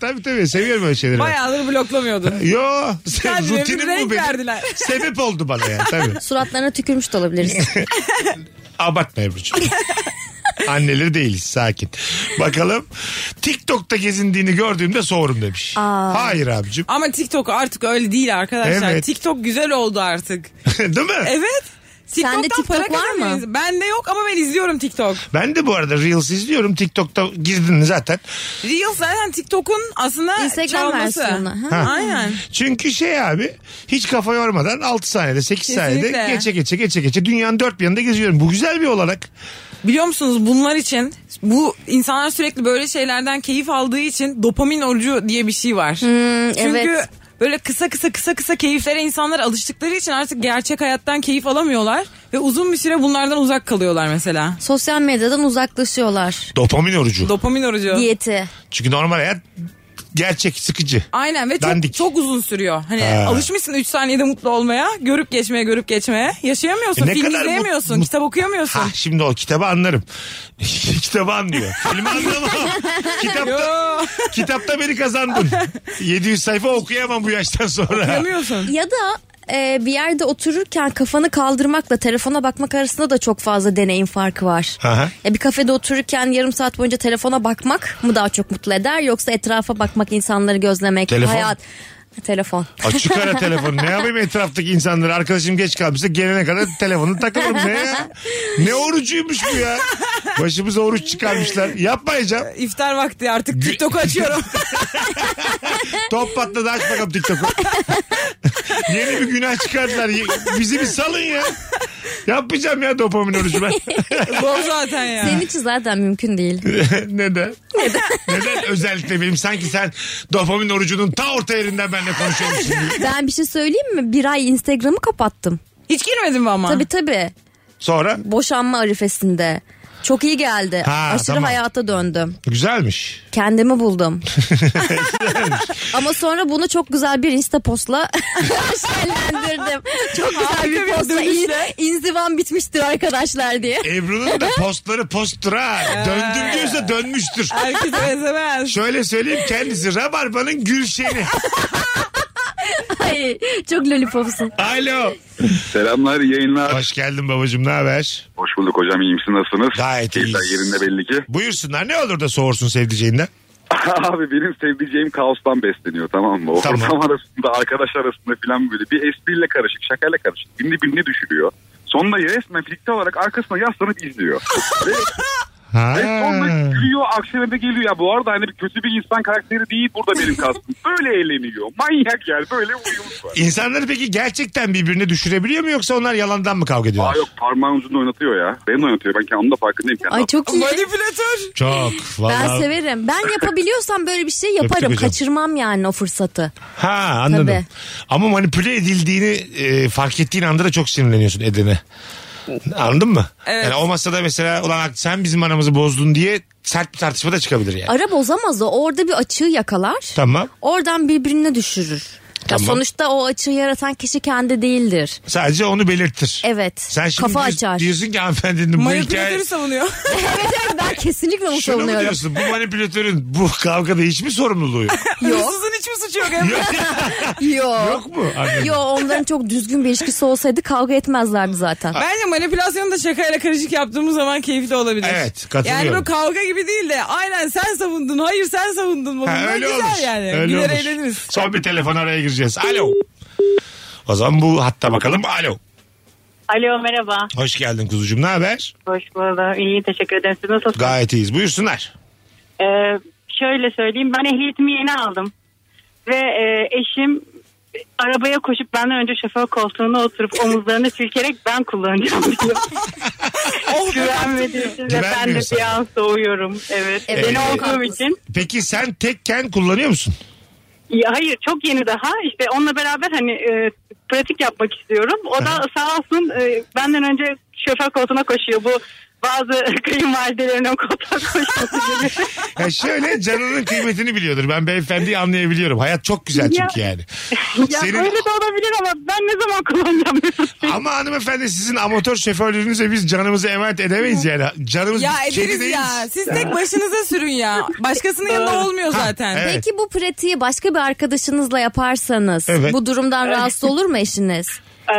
C: tabii tabii seviyorum öyle şeyleri. ben.
E: Bayağıdır bloklamıyordun.
C: Yo sen
E: Kendine bir
C: rutinim bu
E: renk
C: benim.
E: verdiler.
C: Sebep oldu bana yani tabii.
D: Suratlarına tükürmüş de olabilirsin.
C: Abartma Ebru'cum. Anneleri değiliz sakin. Bakalım TikTok'ta gezindiğini gördüğümde soğurum demiş. Hayır abicim.
E: Ama TikTok artık öyle değil arkadaşlar.
C: Evet.
E: TikTok güzel oldu artık.
C: Değil mi?
E: Evet.
D: Sende
E: TikTok'tan
D: TikTok
E: para
D: var mı?
E: kazanmayız. Bende yok ama ben izliyorum TikTok.
C: Ben de bu arada Reels izliyorum. TikTok'ta girdin zaten.
E: Reels zaten TikTok'un aslında
D: Instagram
E: çalması.
D: versiyonu,
C: ha.
E: Aynen.
C: Çünkü şey abi hiç kafa yormadan 6 saniyede 8 saniyede
E: Kesinlikle.
C: geçe geçe geçe geçe dünyanın dört bir yanında geziyorum. Bu güzel bir olarak.
E: Biliyor musunuz bunlar için bu insanlar sürekli böyle şeylerden keyif aldığı için dopamin orucu diye bir şey var. Çünkü
D: Hmm, evet.
E: böyle kısa kısa kısa kısa keyiflere insanlar alıştıkları için artık gerçek hayattan keyif alamıyorlar ve uzun bir süre bunlardan uzak kalıyorlar mesela.
D: Sosyal medyadan uzaklaşıyorlar.
C: Dopamin orucu.
E: Dopamin orucu.
D: Diyeti.
C: Çünkü normal hayat gerçek sıkıcı.
E: Aynen ve
C: Dandik.
E: çok, çok uzun sürüyor. Hani
C: Ha.
E: alışmışsın 3 saniyede mutlu olmaya, görüp geçmeye, görüp geçmeye. Yaşayamıyorsun,
C: E ne
E: film
C: kadar mut-
E: izleyemiyorsun,
C: mut-
E: kitap okuyamıyorsun.
C: Ha, şimdi o kitabı anlarım. kitabı anlıyor. Filmi anlamam. kitapta,
E: Yo,
C: kitapta beni kazandın. 700 sayfa okuyamam bu yaştan sonra.
E: okuyamıyorsun.
D: Ya da e, bir yerde otururken kafanı kaldırmakla telefona bakmak arasında da çok fazla deneyim farkı var.
C: Aha.
D: Ya bir kafede otururken yarım saat boyunca telefona bakmak mı daha çok mutlu eder yoksa etrafa bakmak, insanları gözlemek,
C: Telefon.
D: hayat telefon.
C: Açık ara telefonu. Ne yapayım etraftaki insanları? Arkadaşım geç kalmışsa gelene kadar telefonu takılırım. Ne ya? Ne orucuymuş bu ya? Başımıza oruç çıkarmışlar. Yapmayacağım.
E: İftar vakti artık TikTok'u açıyorum.
C: Top patladı aç bakalım TikTok'u. Yeni bir günah çıkardılar. Ye- Bizi bir salın ya. Yapacağım ya dopamin orucu ben.
E: Zor zaten ya.
D: Senin için zaten mümkün değil.
C: Neden? Neden? Neden özellikle benim sanki sen dopamin orucunun ta orta yerinden benimle konuşuyormuşsun gibi.
D: Ben bir şey söyleyeyim mi? Bir ay Instagram'ı kapattım.
E: Hiç girmedin mi ama?
D: Tabii tabii.
C: Sonra
D: Boşanma arifesinde. Çok iyi geldi.
C: Ha,
D: Aşırı
C: tamam.
D: hayata döndüm.
C: güzelmiş.
D: Kendimi buldum. Ama sonra bunu çok güzel bir insta postla şenlendirdim. Çok güzel
E: Harika
D: bir
E: bir
D: postla.
E: dönüşle.
D: İn, inzivam bitmiştir arkadaşlar diye.
C: Ebru'nun da postları posttur ha. Döndüm
D: Ee.
C: diyorsa dönmüştür.
E: Herkes ezemez.
C: Şöyle söyleyeyim kendisi Rabarba'nın Gülşen'i.
D: Ay, çok lollipopsun.
C: Alo.
J: Selamlar yayınlar.
C: Hoş geldin babacığım ne haber?
J: Hoş bulduk hocam iyi misin nasılsınız?
C: Gayet iyiyiz.
J: Keyifler yerinde belli ki.
C: Buyursunlar ne olur da soğursun sevdiceğinden.
J: Abi benim sevdiceğim kaostan besleniyor tamam mı? O
C: Tamam.
J: ortam arasında arkadaş arasında filan böyle bir espriyle karışık şakayla karışık. Birini birini düşürüyor. Sonunda resmen fiziksel olarak arkasına yaslanıp izliyor. ve,
C: Ha.
J: ve sonra gülüyor akşamında geliyor. Ya bu arada hani bir kötü bir insan karakteri değil burada benim kastım. Böyle eğleniyor. Manyak yani böyle uyumuz var.
C: İnsanları peki gerçekten birbirine düşürebiliyor mu yoksa onlar yalandan mı kavga ediyorlar?
J: Aa yok parmağın ucunda oynatıyor ya. Benim de oynatıyor. Ben kendim de farkındayım. Kendim
D: Ay çok iyi.
E: Manipülatör.
C: Çok. Vallahi...
D: Ben severim. Ben yapabiliyorsam böyle bir şey yaparım.
C: hocam.
D: Kaçırmam yani o fırsatı.
C: Ha anladım.
D: Tabii.
C: Ama manipüle edildiğini e, fark ettiğin anda da çok sinirleniyorsun edene. Anladın mı?
E: Evet.
C: Yani o masada mesela ulan sen bizim aramızı bozdun diye sert bir tartışma da çıkabilir yani.
D: Ara bozamaz o. Orada bir açığı yakalar.
C: Tamam.
D: Oradan birbirine düşürür. Ya
C: Tamam.
D: sonuçta o açığı yaratan kişi kendi değildir.
C: Sadece onu belirtir.
D: Evet.
C: Sen şimdi
D: kafa
C: diyorsun-
D: açar.
C: diyorsun ki hanımefendinin bu hikaye...
E: Manipülatörü savunuyor.
D: evet evet ben kesinlikle bunu
C: Şunu mu
D: savunuyorum.
C: diyorsun? Bu manipülatörün bu kavgada hiç mi sorumluluğu yok?
D: Yok
E: Hırsızın hiç mi suçu yok? Emre?
D: yok.
C: yok mu? Anladım.
D: Yo onların çok düzgün bir ilişkisi olsaydı kavga etmezlerdi zaten.
E: Bence manipülasyonu da şakayla karışık yaptığımız zaman keyifli olabilir.
C: Evet, katılıyorum.
E: Yani böyle kavga gibi değil de aynen sen savundun, hayır sen savundun.
C: Ha,
E: modunda
C: öyle
E: güzel
C: olur.
E: yani.
C: Öyle
E: Güler
C: olur.
E: eğleniriz.
C: Son bir telefon araya gireceğiz. Alo. O zaman bu hatta bakalım. Alo.
K: Alo merhaba.
C: Hoş geldin kuzucuğum. Ne haber?
K: Hoş buldum. İyi teşekkür ederim. Siz nasılsınız?
C: Gayet iyiyiz. Buyursunlar.
K: Ee, şöyle söyleyeyim. Ben ehliyetimi yeni aldım. Ve e, eşim arabaya koşup benden önce şoför koltuğuna oturup omuzlarını silkerek ben kullanacağım diyor.
E: Oh be.
K: Güvenmediği için ve ben de
C: Güvenmiyor
K: bir
C: sana.
K: an soğuyorum. Evet.
D: Evet,
K: Beni
C: evet.
K: olduğum için.
C: Peki sen tekken kullanıyor musun?
K: Ya hayır çok yeni daha. İşte onunla beraber hani e, pratik yapmak istiyorum. O da sağ olsun e, benden önce şoför koltuğuna koşuyor. Bu bazı kayınvalidelerin o koltuğa koşması gibi.
C: Ya şöyle canının kıymetini biliyordur. Ben beyefendiyi anlayabiliyorum. Hayat çok güzel çünkü yani.
K: Ya
C: Senin-
K: böyle de olabilir ama ben ne zaman kullanacağım Mesut Bey?
C: Ama hanımefendi sizin amatör şoförlüğünüze biz canımızı emanet edemeyiz yani. Canımız
E: Ya
C: kedi
E: ederiz
C: değiliz.
E: ya. Siz tek başınıza sürün ya. Başkasının yanında olmuyor
C: Ha,
E: zaten.
C: evet.
D: Peki bu pratiği başka bir arkadaşınızla yaparsanız
C: Evet.
D: bu durumdan rahatsız olur mu eşiniz?
K: Ee,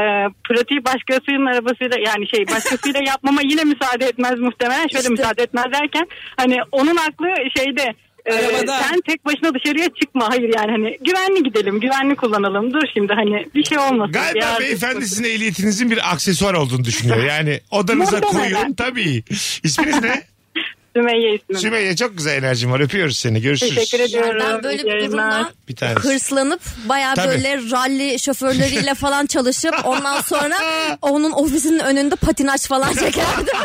K: pratiği başkasının arabasıyla yani şey başkasıyla yapmama yine müsaade etmez muhtemelen. Şöyle
D: İşte.
K: müsaade etmez derken hani onun aklı şeyde e,
E: Arabada.
K: sen tek başına dışarıya çıkma. Hayır yani hani güvenli gidelim, güvenli kullanalım. Dur şimdi hani bir şey olmasın.
C: Galiba
K: Ya,
C: beyefendi sizin ehliyetinizin bir aksesuar olduğunu düşünüyor. Yani odanıza
K: Muhtemelen.
C: koyun tabii. İsminiz ne?
K: Sümeyye ismim.
C: Sümeyye çok güzel enerjim var. Öpüyoruz seni. Görüşürüz.
K: Teşekkür ediyorum.
D: Ben böyle bir durumdan
C: Bir tanesi.
D: hırslanıp baya
C: Tabii.
D: böyle ralli şoförleriyle falan çalışıp ondan sonra onun ofisinin önünde patinaj falan çekerdim.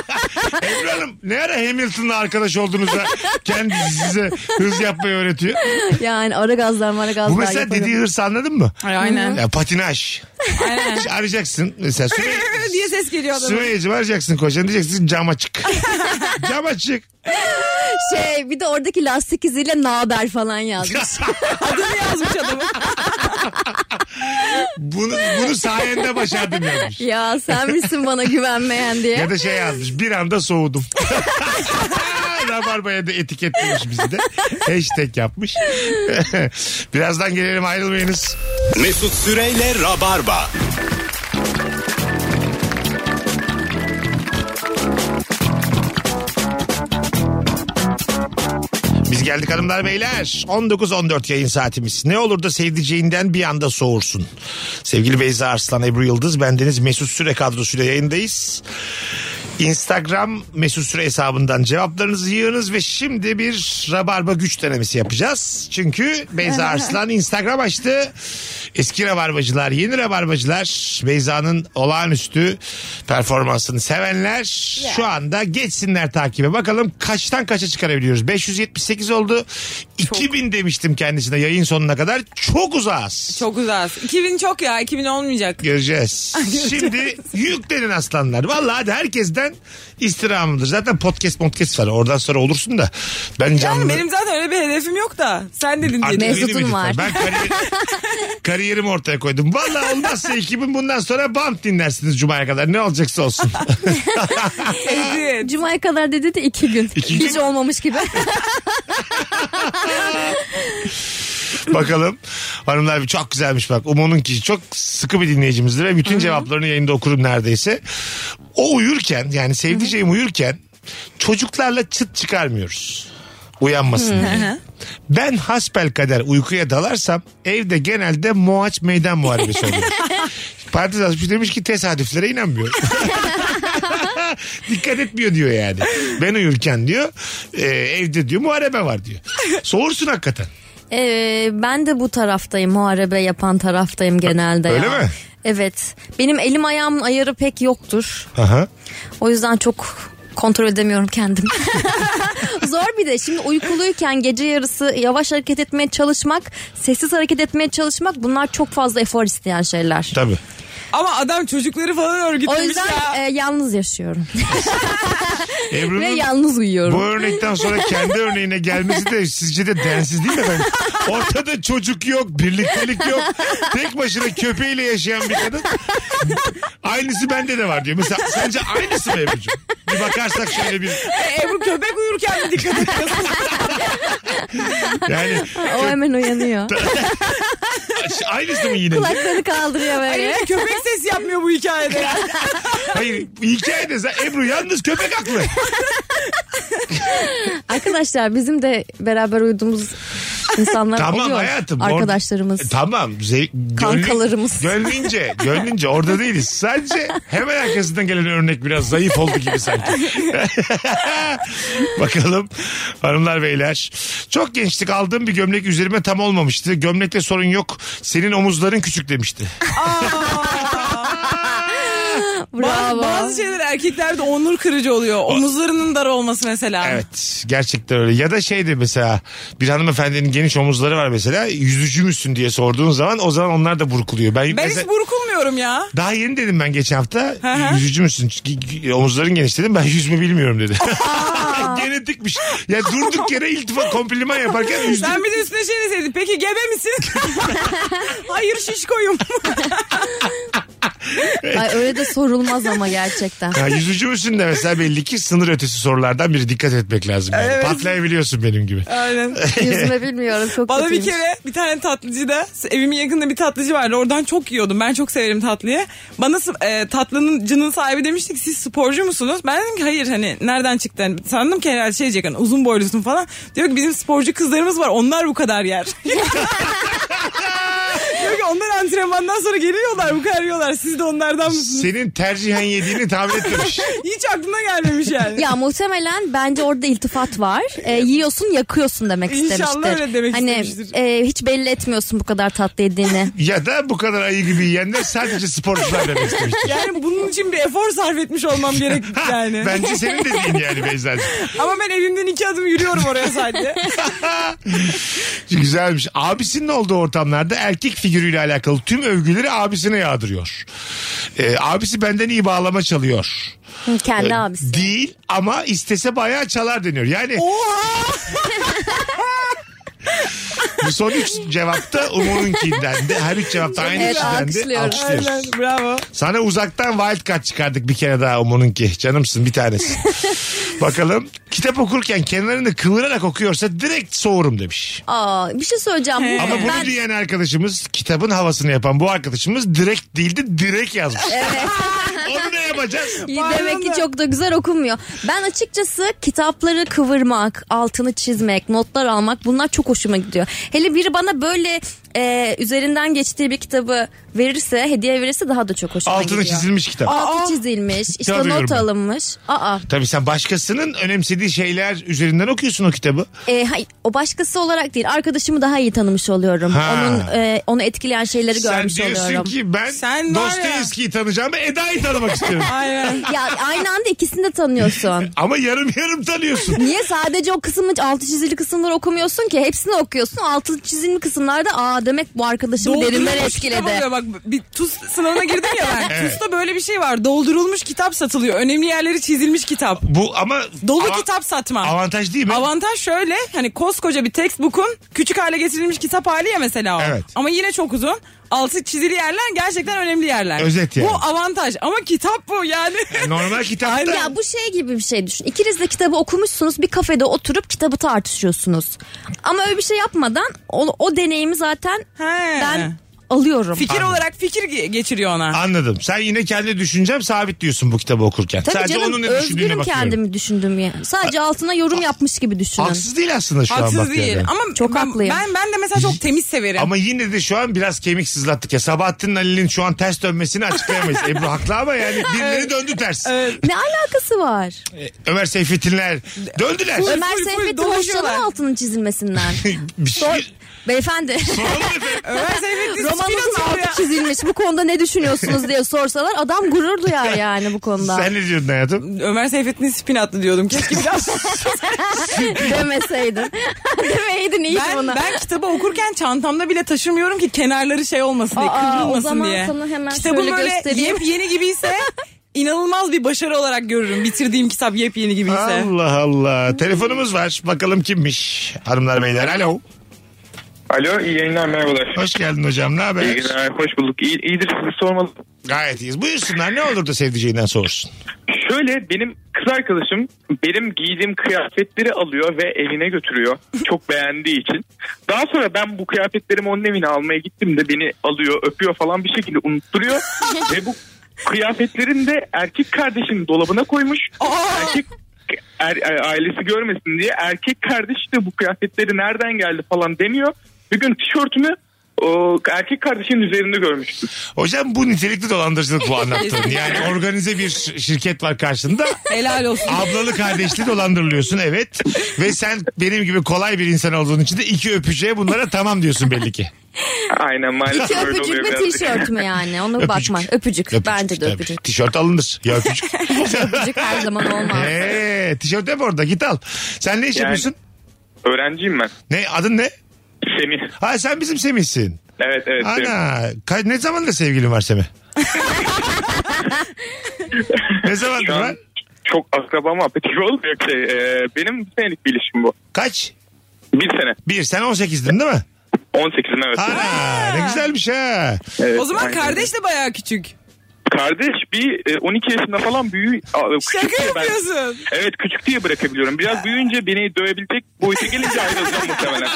C: Ebru Hanım ne ara Hamilton'la arkadaş olduğunuzda kendisi size hız yapmayı öğretiyor.
D: yani ara gazlar mara gazlar
C: Bu mesela
D: yaparım.
C: dediği hırsı anladın mı?
E: Ay, Aynen.
C: Ya patinaj.
E: Aynen.
C: Arayacaksın. Mesela Sümeyye,
E: diye ses geliyor adamın.
C: Sümeyye'cim arayacaksın kocan diyeceksin cam açık. cam açık.
D: Şey bir de oradaki lastik iziyle naber falan yazmış.
E: Adını yazmış adamın.
C: bunu, bunu sayende başardım yazmış.
D: ya sen misin bana güvenmeyen diye.
C: Ya da şey yazmış bir anda soğudum. Rabarba'ya da etiketlemiş bizi de. Hashtag yapmış. Birazdan gelelim ayrılmayınız.
B: Mesut Süreyle Rabarba.
C: Biz geldik hanımlar beyler. 19-14 yayın saatimiz. Ne olur da sevdiceğinden bir anda soğursun. Sevgili Beyza Arslan, Ebru Yıldız, bendeniz Mesut Süre kadrosuyla yayındayız. Instagram Mesut Süre hesabından cevaplarınızı yığınız ve şimdi bir rabarba güç denemesi yapacağız. Çünkü Beyza Arslan Instagram açtı. Eski rabarbacılar, yeni rabarbacılar Beyza'nın olağanüstü performansını sevenler şu anda geçsinler takibe. Bakalım kaçtan kaça çıkarabiliyoruz? 578 oldu. 2000 demiştim kendisine yayın sonuna kadar. Çok uzağız.
E: Çok uzas. 2000 çok ya. 2000 olmayacak.
C: Göreceğiz. Şimdi yüklenin aslanlar. Vallahi hadi herkesten istirhamımdır. Zaten podcast podcast var. Oradan sonra olursun da. Ben canlı...
E: Yani benim zaten öyle bir hedefim yok da. Sen dedin
C: Artık
E: diye.
D: Mesut'un
C: benim
D: var.
C: editör. Ben kariyer- kariyerimi ortaya koydum. Vallahi olmazsa ekibim bundan sonra bump dinlersiniz Cuma'ya kadar. Ne olacaksa olsun.
E: Evet.
D: Cuma'ya kadar dedi de iki gün.
C: İki
D: Hiç
C: gün.
D: olmamış gibi.
C: Bakalım. Hanımlar bir çok güzelmiş bak. Umo'nun ki çok sıkı bir dinleyicimizdir ve bütün cevaplarını yayında okurum neredeyse. O uyurken yani sevdiceğim uyurken çocuklarla çıt çıkarmıyoruz. Uyanmasın diye. Ben hasbel kader uykuya dalarsam evde genelde Moaç meydan muharebesi oluyor. Parti yazmış demiş ki tesadüflere inanmıyor. Dikkat etmiyor diyor yani. Ben uyurken diyor e, evde diyor muharebe var diyor. Soğursun hakikaten.
D: Ee, ben de bu taraftayım. Muharebe yapan taraftayım genelde.
C: Öyle
D: ya.
C: mi?
D: Evet. Benim elim ayağımın ayarı pek yoktur.
C: Aha.
D: O yüzden çok kontrol edemiyorum kendimi. Zor bir de şimdi uykuluyken gece yarısı yavaş hareket etmeye çalışmak, sessiz hareket etmeye çalışmak bunlar çok fazla efor isteyen şeyler.
C: Tabii.
E: Ama adam çocukları falan
D: O
E: örgütlemiş
D: yüzden
E: ya.
D: e, yalnız yaşıyorum. Ve
C: Ebru'nun
D: yalnız uyuyorum.
C: bu örnekten sonra kendi örneğine gelmesi de sizce de densiz değil mi efendim? Ortada çocuk yok, birliktelik yok. Tek başına köpeğiyle yaşayan bir kadın. Aynısı bende de var diyor. Mesela sence aynısı mı Ebru'cum? Bir bakarsak şöyle bir
E: E, Ebru köpek uyurken mi dikkat ediyorsun?
C: yani
D: O hemen uyanıyor.
C: aynısı mı yine?
D: Kulaklarını kaldırıyor
E: Hayır,
D: böyle.
E: köpek sesi yapmıyor bu hikayede.
C: Hayır hikayede sen Ebru yalnız köpek haklı.
D: Arkadaşlar bizim de beraber uyuduğumuz insanlar
C: Tamam
D: oluyor.
C: hayatım. Or-
D: Arkadaşlarımız.
C: E, tamam. Zev- gönlün-
D: Kankalarımız.
C: Gönlünce, gönlünce orada değiliz. Sadece hemen arkasından gelen örnek biraz zayıf oldu gibi sanki. Bakalım hanımlar beyler. Çok gençlik aldığım bir gömlek üzerime tam olmamıştı. Gömlekte sorun yok. Senin omuzların küçük demişti.
E: Bazı,
D: Bravo.
E: bazı şeyler erkeklerde onur kırıcı oluyor. Omuzlarının dar olması mesela.
C: Evet gerçekten öyle. Ya da şeydi mesela bir hanımefendinin geniş omuzları var mesela. Yüzücü müsün diye sorduğun zaman o zaman onlar da burkuluyor. Ben,
E: Ben
C: mesela-
E: hiç burkulmuyorum ya.
C: Daha yeni dedim ben geçen hafta.
E: Hı hı.
C: Yüzücü müsün? Çünkü Omuzların geniş dedim. Ben yüzme bilmiyorum dedi. Genetikmiş. Ya durduk yere iltifat kompliman yaparken yüzdüm.
E: Sen bir de üstüne şey deseydin. Peki gebe misin? Hayır şişkoyum. şey-
D: Ay, öyle de sorulmaz ama gerçekten.
C: Ya yüzücü müsün de mesela belli ki sınır ötesi sorulardan biri dikkat etmek lazım. Yani. Patlayabiliyorsun benim gibi.
E: Aynen.
D: Yüzme bilmiyorum çok
E: Bana bir
D: kötüymüş.
E: kere bir tane tatlıcıda evimin yakında bir tatlıcı vardı. Oradan çok yiyordum. Ben çok severim tatlıyı. Bana e, tatlının cının sahibi demişti ki siz sporcu musunuz? Ben dedim ki hayır hani nereden çıktı? Hani sandım ki herhalde şey diyecek hani uzun boylusun falan. Diyor ki bizim sporcu kızlarımız var. Onlar bu kadar yer. Diyor ki onlar antrenmandan sonra geliyorlar bu kadar yiyorlar. Siz de onlardan mısınız?
C: Senin tercihen yediğini tahmin etmemiş.
E: Hiç aklına gelmemiş yani.
D: Ya muhtemelen bence orada iltifat var. Ee, yiyorsun yakıyorsun demek
E: İnşallah
D: istemiştir.
E: öyle demek
D: hani,
E: istemiştir.
D: e, hiç belli etmiyorsun bu kadar tatlı yediğini.
C: Ya da bu kadar ayı gibi yiyenler sadece sporcular demek istemiş.
E: Yani bunun için bir efor sarf etmiş olmam gerek yani.
C: Bence senin dediğin yani Beyza'cığım.
E: Ama ben evimden iki adım yürüyorum oraya sadece.
C: Güzelmiş. Abisinin olduğu ortamlarda erkek figürüyle alakalı tüm övgüleri abisine yağdırıyor. Ee, abisi benden iyi bağlama çalıyor.
D: Hı, Kendi
C: E,
D: abisi.
C: Değil ama istese bayağı çalar deniyor. Yani
E: Oha!
C: bu son üç cevapta Umur'unkinden de her üç cevapta aynı
D: Evet,
C: kişiden de
D: alkışlıyorum.
C: alkışlıyoruz.
E: Aynen bravo.
C: Sana uzaktan wild card çıkardık bir kere daha Umur'unki. Canımsın bir tanesi. Bakalım kitap okurken kenarını kıvırarak okuyorsa direkt soğurum demiş.
D: Aa, bir şey söyleyeceğim. Bu-
C: Ama bunu
D: ben
C: diyen arkadaşımız kitabın havasını yapan bu arkadaşımız direkt değildi direkt yazmış. Onu ne yapacağız?
D: İyi, demek ki çok da güzel okunmuyor. Ben açıkçası kitapları kıvırmak, altını çizmek, notlar almak bunlar çok hoşuma gidiyor. Hele biri bana böyle e, üzerinden geçtiği bir kitabı verirse, hediye verirse daha da çok hoşuma gidiyor.
C: Altını çizilmiş kitap.
D: Altı çizilmiş, işte
C: arıyorum
D: not
C: ben.
D: alınmış. Aa,
C: Tabii sen başkasının önemsediği şeyler üzerinden okuyorsun o kitabı.
D: E, hayır, o başkası olarak değil arkadaşımı daha iyi tanımış oluyorum.
C: Ha.
D: Onun e, onu etkileyen şeyleri
C: Sen
D: görmüş
C: diyorsun
D: oluyorum.
C: ki ben
E: Sen var ya-
C: Dostoyevski'yi tanıyacağım Eda'yı tanımak istiyorum.
E: Aynen.
D: Ya aynı anda ikisini de tanıyorsun.
C: Ama yarım yarım tanıyorsun.
D: Niye sadece o kısmı altı çizili kısımları okumuyorsun ki? Hepsini okuyorsun. Altı çizili kısımlarda aa demek bu arkadaşımı derinden
E: Doldurulmuş kitap
D: etkiledi.
E: oluyor. Bak bir TUS sınavına girdim ya ben.
C: Evet.
E: TUS'ta böyle bir şey var. Doldurulmuş kitap satılıyor. Önemli yerleri çizilmiş kitap.
C: Bu ama
E: Dolu
C: ava-
E: kitap satma.
C: avantaj değil mi?
E: Avantaj şöyle hani koskoca bir textbook'un küçük hale getirilmiş kitap hali ya mesela o.
C: Evet.
E: Ama yine çok uzun. Altı çizili yerler gerçekten önemli yerler.
C: Özet yani.
E: Bu avantaj ama kitap bu yani.
C: Normal kitapta
D: Ya bu şey gibi bir şey düşün. İkiniz de kitabı okumuşsunuz. Bir kafede oturup kitabı tartışıyorsunuz. Ama öyle bir şey yapmadan o, o deneyimi zaten
E: He.
D: ben alıyorum.
E: Fikir olarak fikir ge- geçiriyor ona.
C: anladım. Sen yine kendi düşüncem sabit diyorsun bu kitabı okurken.
D: Tabii
C: Sadece
D: canım
C: onun ne düşündüğüne
D: özgürüm
C: bakıyorum.
D: kendimi düşündüm ya. Sadece altına yorum yapmış gibi düşünün.
C: Haksız değil aslında şu an
E: Haksız
C: bak
E: değil.
C: yani.
E: Ama
D: Çok
E: ben,
D: haklıyım.
E: ben, ben de mesela çok temiz severim.
C: Ama yine de şu an biraz kemik sızlattık ya. Sabahattin Ali'nin şu an ters dönmesini açıklayamayız. Ebru haklı ama yani birileri döndü ters.
D: Ne alakası var?
C: Ömer Seyfettinler döndüler.
D: Ömer
E: full full
D: Seyfettin
E: dolaşıyorlar.
D: hoşlanan altının çizilmesinden.
C: Bir şey-
D: Beyefendi.
C: Soralım efendim.
E: Ömer Seyfettin
D: Romanınızın
E: Spinoza ya.
D: altı çizilmiş. Bu konuda ne düşünüyorsunuz diye sorsalar adam gurur duyar yani bu konuda.
C: Sen ne diyordun hayatım?
E: Ömer Seyfettin Spinatlı diyordum. Keşke biraz
D: Demeseydin. Demeydin iyi
E: ben,
D: buna.
E: ben kitabı okurken çantamda bile taşımıyorum ki kenarları şey olmasın diye,
D: Aa,
E: kıvrılmasın
D: o zaman
E: diye.
D: sana hemen
E: Kitabım
D: şöyle
E: böyle
D: göstereyim.
E: yepyeni gibiyse inanılmaz bir başarı olarak görürüm. Bitirdiğim kitap yepyeni gibiyse.
C: Allah Allah. Telefonumuz var. Bakalım kimmiş? Hanımlar beyler. Alo.
J: Alo iyi yayınlar merhabalar.
C: Hoş geldin hocam. Ne
J: İyi
C: haber?
J: günler, hoş bulduk. İyi, iyidir sizi sormalı.
C: Gayet iyiyiz. Buyursunlar. Ne olur da sevdiceğinden soğursun.
J: Şöyle benim kız arkadaşım benim giydiğim kıyafetleri alıyor ve evine götürüyor. Çok beğendiği için. Daha sonra ben bu kıyafetlerimi onun evine almaya gittim de beni alıyor öpüyor falan bir şekilde unutturuyor. ve bu kıyafetlerini de erkek kardeşinin dolabına koymuş. Erkek er- er- ailesi görmesin diye erkek kardeş de bu kıyafetleri nereden geldi falan demiyor. Bir gün tişörtümü o, erkek kardeşinin üzerinde görmüştüm.
C: Hocam bu nitelikli dolandırıcılık bu anlattığın. Yani organize bir ş- şirket var karşında.
E: Helal olsun.
C: Ablalı kardeşli dolandırılıyorsun evet. Ve sen benim gibi kolay bir insan olduğun için de iki öpücüğe bunlara tamam diyorsun belli ki.
J: Aynen maalesef
D: İki
J: öyle
D: öpücük
J: oluyor
D: mü
J: birazcık.
D: tişört mü yani? Ona
C: Öpücük.
D: bakma. Öpücük. Bence de
C: tabii.
D: öpücük.
C: Tişört alınır. Ya öpücük.
D: Öpücük her zaman olmaz.
C: Eee tişört hep orada git al. Sen ne iş
J: Yani-
C: yapıyorsun?
J: Öğrenciyim ben.
C: Ne adın ne?
J: Semih.
C: Ha sen bizim Semih'sin.
J: Evet evet. Semih.
C: Ana ka- ne zamandır sevgilin var Semih? ne zamandır
J: Şu
C: var?
J: an çok akraba muhabbeti gibi olmuyor ki. Ee, benim bir senelik bir ilişkim bu.
C: Kaç?
J: Bir sene.
C: Bir. Sen 18'din değil mi?
J: 18'in evet.
C: Ana ne güzelmiş ha.
J: Evet,
E: O zaman
J: aynen.
E: kardeş de bayağı küçük.
J: Kardeş bir e, 12 yaşında falan büyüğü. Aa, küçük
E: Şaka
J: diye ben-
E: yapıyorsun.
J: evet küçük diye bırakabiliyorum. Biraz büyüyünce beni dövebilecek boyuta gelince ayrılacağım muhtemelen.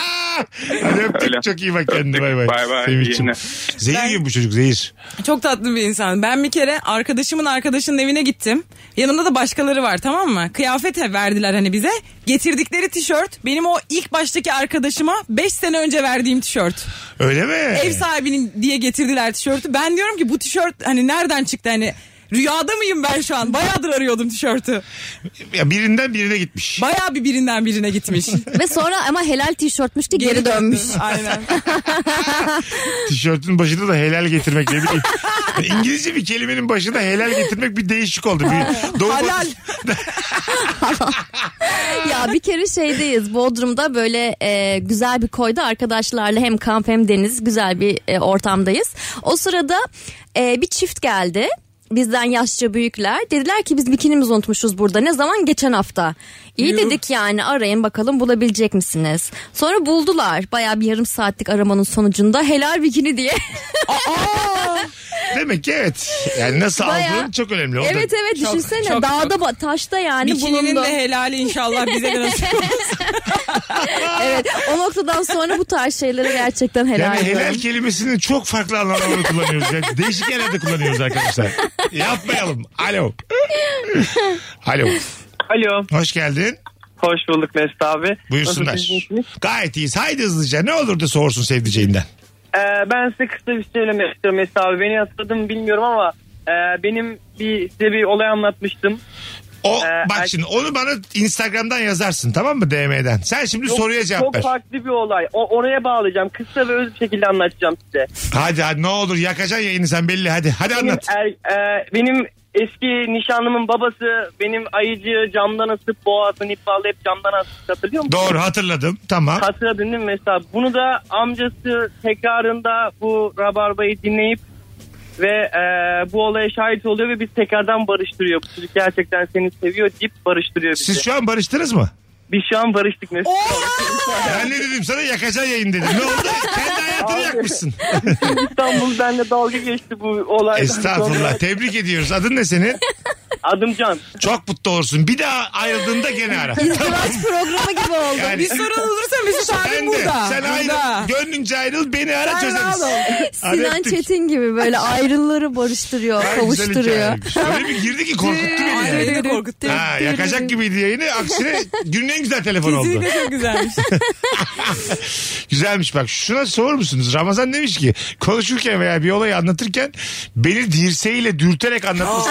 C: Hadi öptük
J: Öyle.
C: çok iyi bak kendine bay bay.
J: Öptük, bay bay,
C: Semih'ciğim.
J: iyi
C: Zehir
E: Ben-
C: gibi bu çocuk zehir.
E: Çok tatlı bir insan. Ben bir kere arkadaşımın arkadaşının evine gittim. Yanımda da başkaları var tamam mı? Kıyafet verdiler hani bize. Getirdikleri tişört benim o ilk baştaki arkadaşıma 5 sene önce verdiğim tişört.
C: Öyle mi?
E: ev sahibinin diye getirdiler tişörtü. Ben diyorum ki bu tişört hani nereden çıktı hani rüyada mıyım ben şu an? Bayağıdır arıyordum tişörtü.
C: Ya birinden birine gitmiş.
E: Bayağı bir birinden birine gitmiş.
D: Ve sonra ama helal tişörtmüş diye geri
E: döndü.
D: dönmüş.
E: Aynen.
C: Tişörtün başında da helal getirmek ne bileyim. İngilizce bir kelimenin başında helal getirmek bir değişik oldu. Bir doğu
E: Halal.
D: ya bir kere şeydeyiz Bodrum'da böyle e, güzel bir koyda arkadaşlarla hem kamp hem deniz güzel bir e, ortamdayız. O sırada e, bir çift geldi bizden yaşça büyükler dediler ki biz bikinimizi unutmuşuz burada ne zaman geçen hafta. İyi dedik yani arayın bakalım bulabilecek misiniz? Sonra buldular bayağı bir yarım saatlik aramanın sonucunda helal bikini diye.
C: Demek ki evet. Yani nasıl
D: Bayağı-
C: aldığın çok önemli. O da-
D: evet evet
E: çok-
D: düşünsene
E: çok-
D: dağda ba- taşta yani
E: Bikininin
D: bulundu.
E: de helali inşallah bize de nasip
D: Evet o noktadan sonra bu tarz şeylere gerçekten helal.
C: Yani
D: ediyorum.
C: helal kelimesini çok farklı anlamlarda kullanıyoruz. Yani değişik yerlerde kullanıyoruz arkadaşlar. Yapmayalım. Alo. Alo.
G: Alo.
C: Hoş geldin.
G: Hoş bulduk Mesut abi.
C: Buyursunlar. Gayet iyiyiz. Haydi hızlıca. Ne olur da soğursun sevdiceğinden.
G: Ee, ben size kısa bir şey söylemek istiyorum Mesut abi. Beni hatırladın mı bilmiyorum ama e, benim bir size bir olay anlatmıştım.
C: O
G: Ee,
C: bak
G: ay-
C: şimdi onu bana Instagram'dan yazarsın tamam mı DM'den. Sen şimdi soruya
G: çok
C: cevap ver.
G: farklı bir olay. O, oraya bağlayacağım. Kısa ve öz bir şekilde anlatacağım size.
C: Hadi hadi ne olur yakacaksın yayını sen belli hadi. Hadi anlat.
G: Benim, er- e, benim eski nişanlımın babası benim ayıcı camdan asıp boğazını ip bağlayıp camdan asıp hatırlıyor musun?
C: Doğru hatırladım. Tamam.
G: Hatırladın değil mi mesela? Bunu da amcası tekrarında bu rabarbayı dinleyip ve e, bu olaya şahit oluyor ve biz tekrardan barıştırıyor. Bu çocuk gerçekten seni seviyor deyip barıştırıyor bizi.
C: Siz şu an barıştınız mı?
G: Biz şu an barıştık mesela.
C: Ben ne dedim sana yakacaksın yayın dedim. Ne oldu? Kendi hayatını yakmışsın.
G: İstanbul benimle dalga geçti bu olaydan.
C: Estağfurullah.
G: sonra.
C: Tebrik ediyoruz. Adın ne senin?
G: Adım Can.
C: Çok mutlu olursun. Bir daha ayrıldığında gene ara.
D: İzdivaç programı gibi oldu.
C: Yani-
E: Bir sorun olursa Mesut abim
C: Sen de.
E: burada.
C: Sen
E: burada.
C: ayrıl. Gönlünce ayrıl. Beni ara
E: Sen
C: çözeriz.
E: rahat ol.
C: Hadi
D: Sinan
C: öptük.
D: Çetin gibi böyle ayrıları barıştırıyor,
C: Ay, güzel
D: kavuşturuyor.
C: hikayeymiş. Öyle bir girdi ki korkuttu beni.
E: Ay,
C: yani.
E: beni de korkuttu.
C: Ha, yakacak gibiydi yayını. Aksine günün en güzel telefon oldu.
E: Kesinlikle çok güzelmiş.
C: Güzelmiş bak. Şuna sorur musunuz? Ramazan demiş ki konuşurken veya bir olayı anlatırken beni dirseğiyle dürterek anlatması.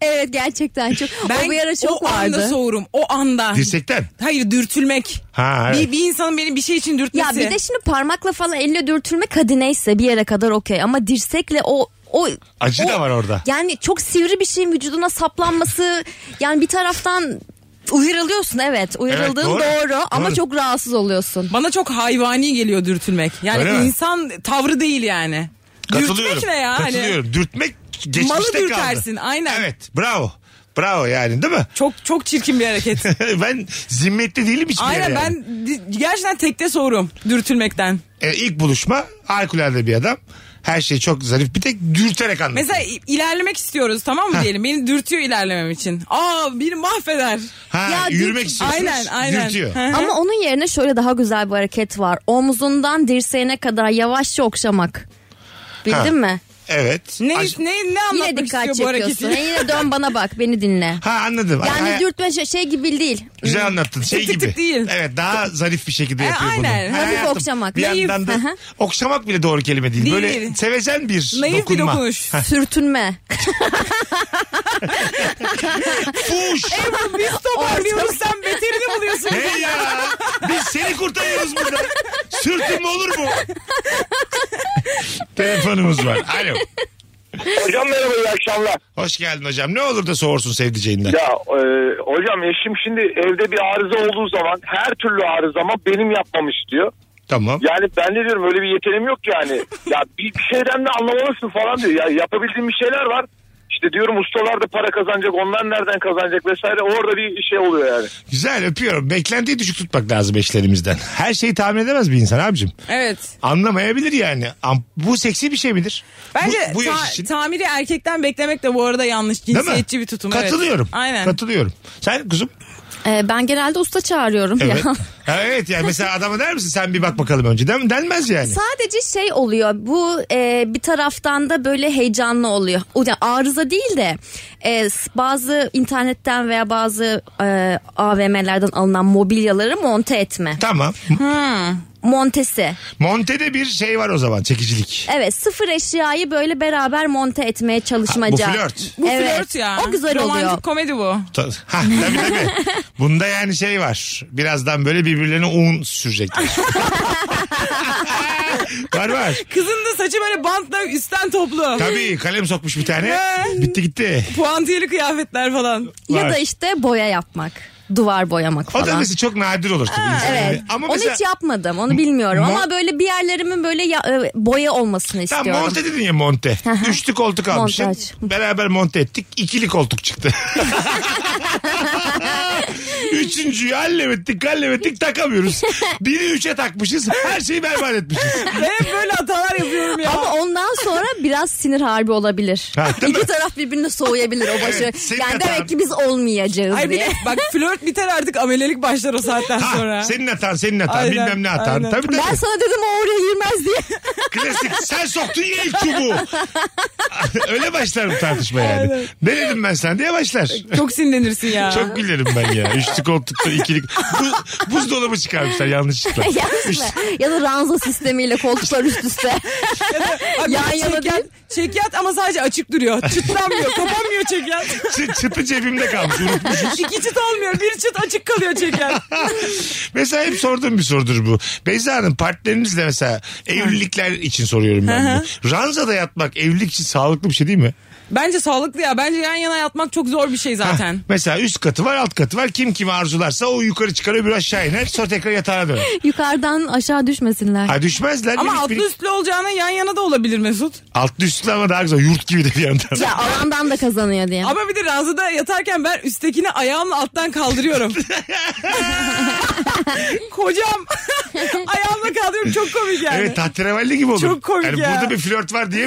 D: Evet gerçekten çok.
E: Ben
D: o bir ara çok
E: o anda
D: vardı.
E: soğurum. O anda.
C: Dirsekten.
E: Hayır dürtülmek.
C: Ha evet.
E: Bir, bir insanın beni bir şey için
D: ya
E: dürtmesi.
D: bir de şimdi parmakla falan elle dürtülmek hadi neyse bir yere kadar okey ama dirsekle o o
C: Acı
D: o-
C: da var orada.
D: Yani çok sivri bir şeyin vücuduna saplanması yani bir taraftan uyarılıyorsun evet uyarıldığın
C: doğru.
D: doğru. ama
C: Doğru.
D: çok rahatsız oluyorsun.
E: Bana çok hayvani geliyor dürtülmek. Yani
C: Öyle mi?
E: insan tavrı değil yani.
C: Katılıyorum.
E: Dürtmek ne ya? Hani
C: Katılıyorum. Dürtmek geçmişte
E: Malı
C: kaldı.
E: dürtersin, aynen.
C: Evet bravo. Bravo yani değil mi?
E: çok çok çirkin bir hareket.
C: ben zimmetli değilim hiçbir yere
E: Aynen
C: yani.
E: ben di- gerçekten tekte soğurum dürtülmekten.
C: E, ilk buluşma harikulade bir adam. Her şey çok zarif. Bir tek dürterek anlatıyor.
E: Mesela i- ilerlemek istiyoruz tamam mı diyelim. Beni dürtüyor ilerlemem için. Aa beni mahveder.
C: ha,
D: Ya
C: yürümek
D: dürt-
C: istiyorsunuz.
E: Aynen, aynen.
C: Dürtüyor.
E: Hı.
D: Ama onun yerine şöyle daha güzel bir hareket var. Omzundan dirseğine kadar yavaşça okşamak. Bildin
C: Ha.
D: mi?
C: Evet.
E: Ne
C: Ac-
E: ne ne
D: Yine
E: anlatmak
D: dikkat
E: istiyor bu
D: çekiyorsun.
E: hareketi?
D: Yine dön bana bak beni dinle.
C: Ha anladım. Ay-
D: Yani
C: ay-
D: dürtme şey, şey gibi değil.
C: Güzel anlattın. Şey
E: Tık tık
C: gibi.
E: tık değil.
C: Evet daha zarif bir şekilde
E: E,
C: yapıyor bunu.
E: aynen.
C: Ha,
D: Hafif
C: hayatım,
D: okşamak.
C: Bir
D: Naif.
C: yandan da
D: Hı hı.
C: okşamak bile doğru kelime değil.
E: Değil.
C: Böyle sevecen bir
E: Naif bir
C: dokunma.
E: dokunuş.
D: Sürtünme.
C: Fuş.
E: Biz toparlıyoruz sen beterini buluyorsun.
C: ne ya? Biz seni kurtarıyoruz burada. Sürtünme olur mu? Telefonumuz var. Alo.
H: Hocam merhaba iyi akşamlar.
C: Hoş geldin hocam. Ne olur da soğursun sevdiceğinden.
H: Ya e, hocam eşim şimdi evde bir arıza olduğu zaman her türlü arızama benim yapmam istiyor.
C: Tamam.
H: Yani ben de diyorum öyle bir yeteneğim yok yani. Ya bir, bir şeyden de anlamalısın falan diyor. Ya yapabildiğim bir şeyler var. İşte diyorum ustalar da para kazanacak onlar nereden kazanacak vesaire orada bir şey oluyor yani.
C: Güzel öpüyorum. Beklentiyi düşük tutmak lazım eşlerimizden. Her şeyi tahmin edemez bir insan abicim.
E: Evet.
C: Anlamayabilir yani. Am- Bu seksi bir şey midir?
E: Bence
C: bu, bu yaş
E: ta-
C: için.
E: tamiri erkekten beklemek de bu arada yanlış.
C: Değil mi?
E: Cinsiyetçi bir tutum. evet.
C: Katılıyorum.
E: Aynen.
C: Katılıyorum. Sen kuzum?
D: Ee, ben genelde usta çağırıyorum
C: Evet.
D: ya.
C: Ha, evet yani mesela adama der misin sen bir bak bakalım önce. Dem denmez yani.
D: Sadece şey oluyor bu e, bir taraftan da böyle heyecanlı oluyor. O yani arıza değil de e, s- bazı internetten veya bazı e, AVM'lerden alınan mobilyaları monte etme.
C: Tamam.
E: Hmm.
D: Montesi.
C: Monte'de bir şey var o zaman çekicilik.
D: Evet sıfır eşyayı böyle beraber monte etmeye çalışmaca.
C: Ha, bu flört.
E: Bu
D: Evet,
E: flört ya.
D: O güzel
E: Romantik
D: oluyor.
E: komedi bu.
C: Ta- Ha tabii tabii. Bunda yani şey var. Birazdan böyle birbirlerine un sürecekler. var var.
E: Kızın da saçı böyle bantla üstten toplu.
C: Tabii kalem sokmuş bir tane.
E: Ne?
C: Bitti gitti.
E: Puantiyeli kıyafetler falan.
D: Ya
C: Var.
D: da işte boya yapmak. Duvar boyamak
C: O da
D: falan.
C: mesela çok nadir olur tabii. insanın.
D: Evet.
C: Ama
D: onu
C: mesela
D: hiç yapmadım. Onu bilmiyorum.
C: Mon-
D: Ama böyle bir yerlerimin böyle ya- e, boya olmasını
C: Tam
D: istiyorum.
C: monte dedin ya monte.
D: hı.
C: Üçlü koltuk almışsın.
D: Montaj.
C: Beraber monte ettik. İkili koltuk çıktı. Üçüncüyü hallemettik hallemettik takamıyoruz. Biri üçe takmışız. Her şeyi berbat etmişiz.
E: Ben hep böyle hatalar yapıyorum ya.
D: Ama ondan sonra biraz sinir harbi olabilir.
C: Ha, değil mi?
D: İki taraf birbirine soğuyabilir o başı.
C: Evet, senin
D: yani
C: hatan.
D: demek ki biz olmayacağız
E: Ay bir
D: diye.
E: de bak flört biter artık amelelik başlar o saatten
C: Ha,
E: sonra.
C: senin hatan senin hatan
E: Aynen,
C: bilmem ne hatan.
E: aynen.
C: Tabii
D: Ben
C: tabii.
D: sana dedim o oraya girmez diye.
C: Klasik sen soktun ya ilk çubuğu. Öyle başlar bu tartışma yani.
E: Aynen.
C: Ne dedim ben sen diye başlar.
E: Çok sinirlenirsin ya.
C: Çok gülerim ben ya. Üçlü koltukta ikilik. Bu, buzdolabı çıkarmışlar yanlışlıkla.
D: Yalnız mı? ya da ranza sistemiyle koltuklar üst üste.
E: Ay, bir
D: Yan
E: de
D: yana
E: çekyat,
D: değil.
E: çekyat ama sadece açık duruyor. Çıtlanmıyor. kapanmıyor çekyat.
C: Çı- çıtı cebimde kalmış. Unutmuş.
E: İki çıt olmuyor. Bir çıt açık kalıyor çekyat.
C: Mesela hep sorduğum bir sorudur bu. Beyza Hanım partnerinizle mesela evlilikler için soruyorum ben bunu. Ranzada yatmak evlilik için sağlıklı bir şey değil mi?
E: Bence sağlıklı ya. Bence yan yana yatmak çok zor bir şey zaten.
C: Mesela üst katı var alt katı var. Kim kimi arzularsa o yukarı çıkar öbürü aşağı iner. Sonra tekrar yatağına döner.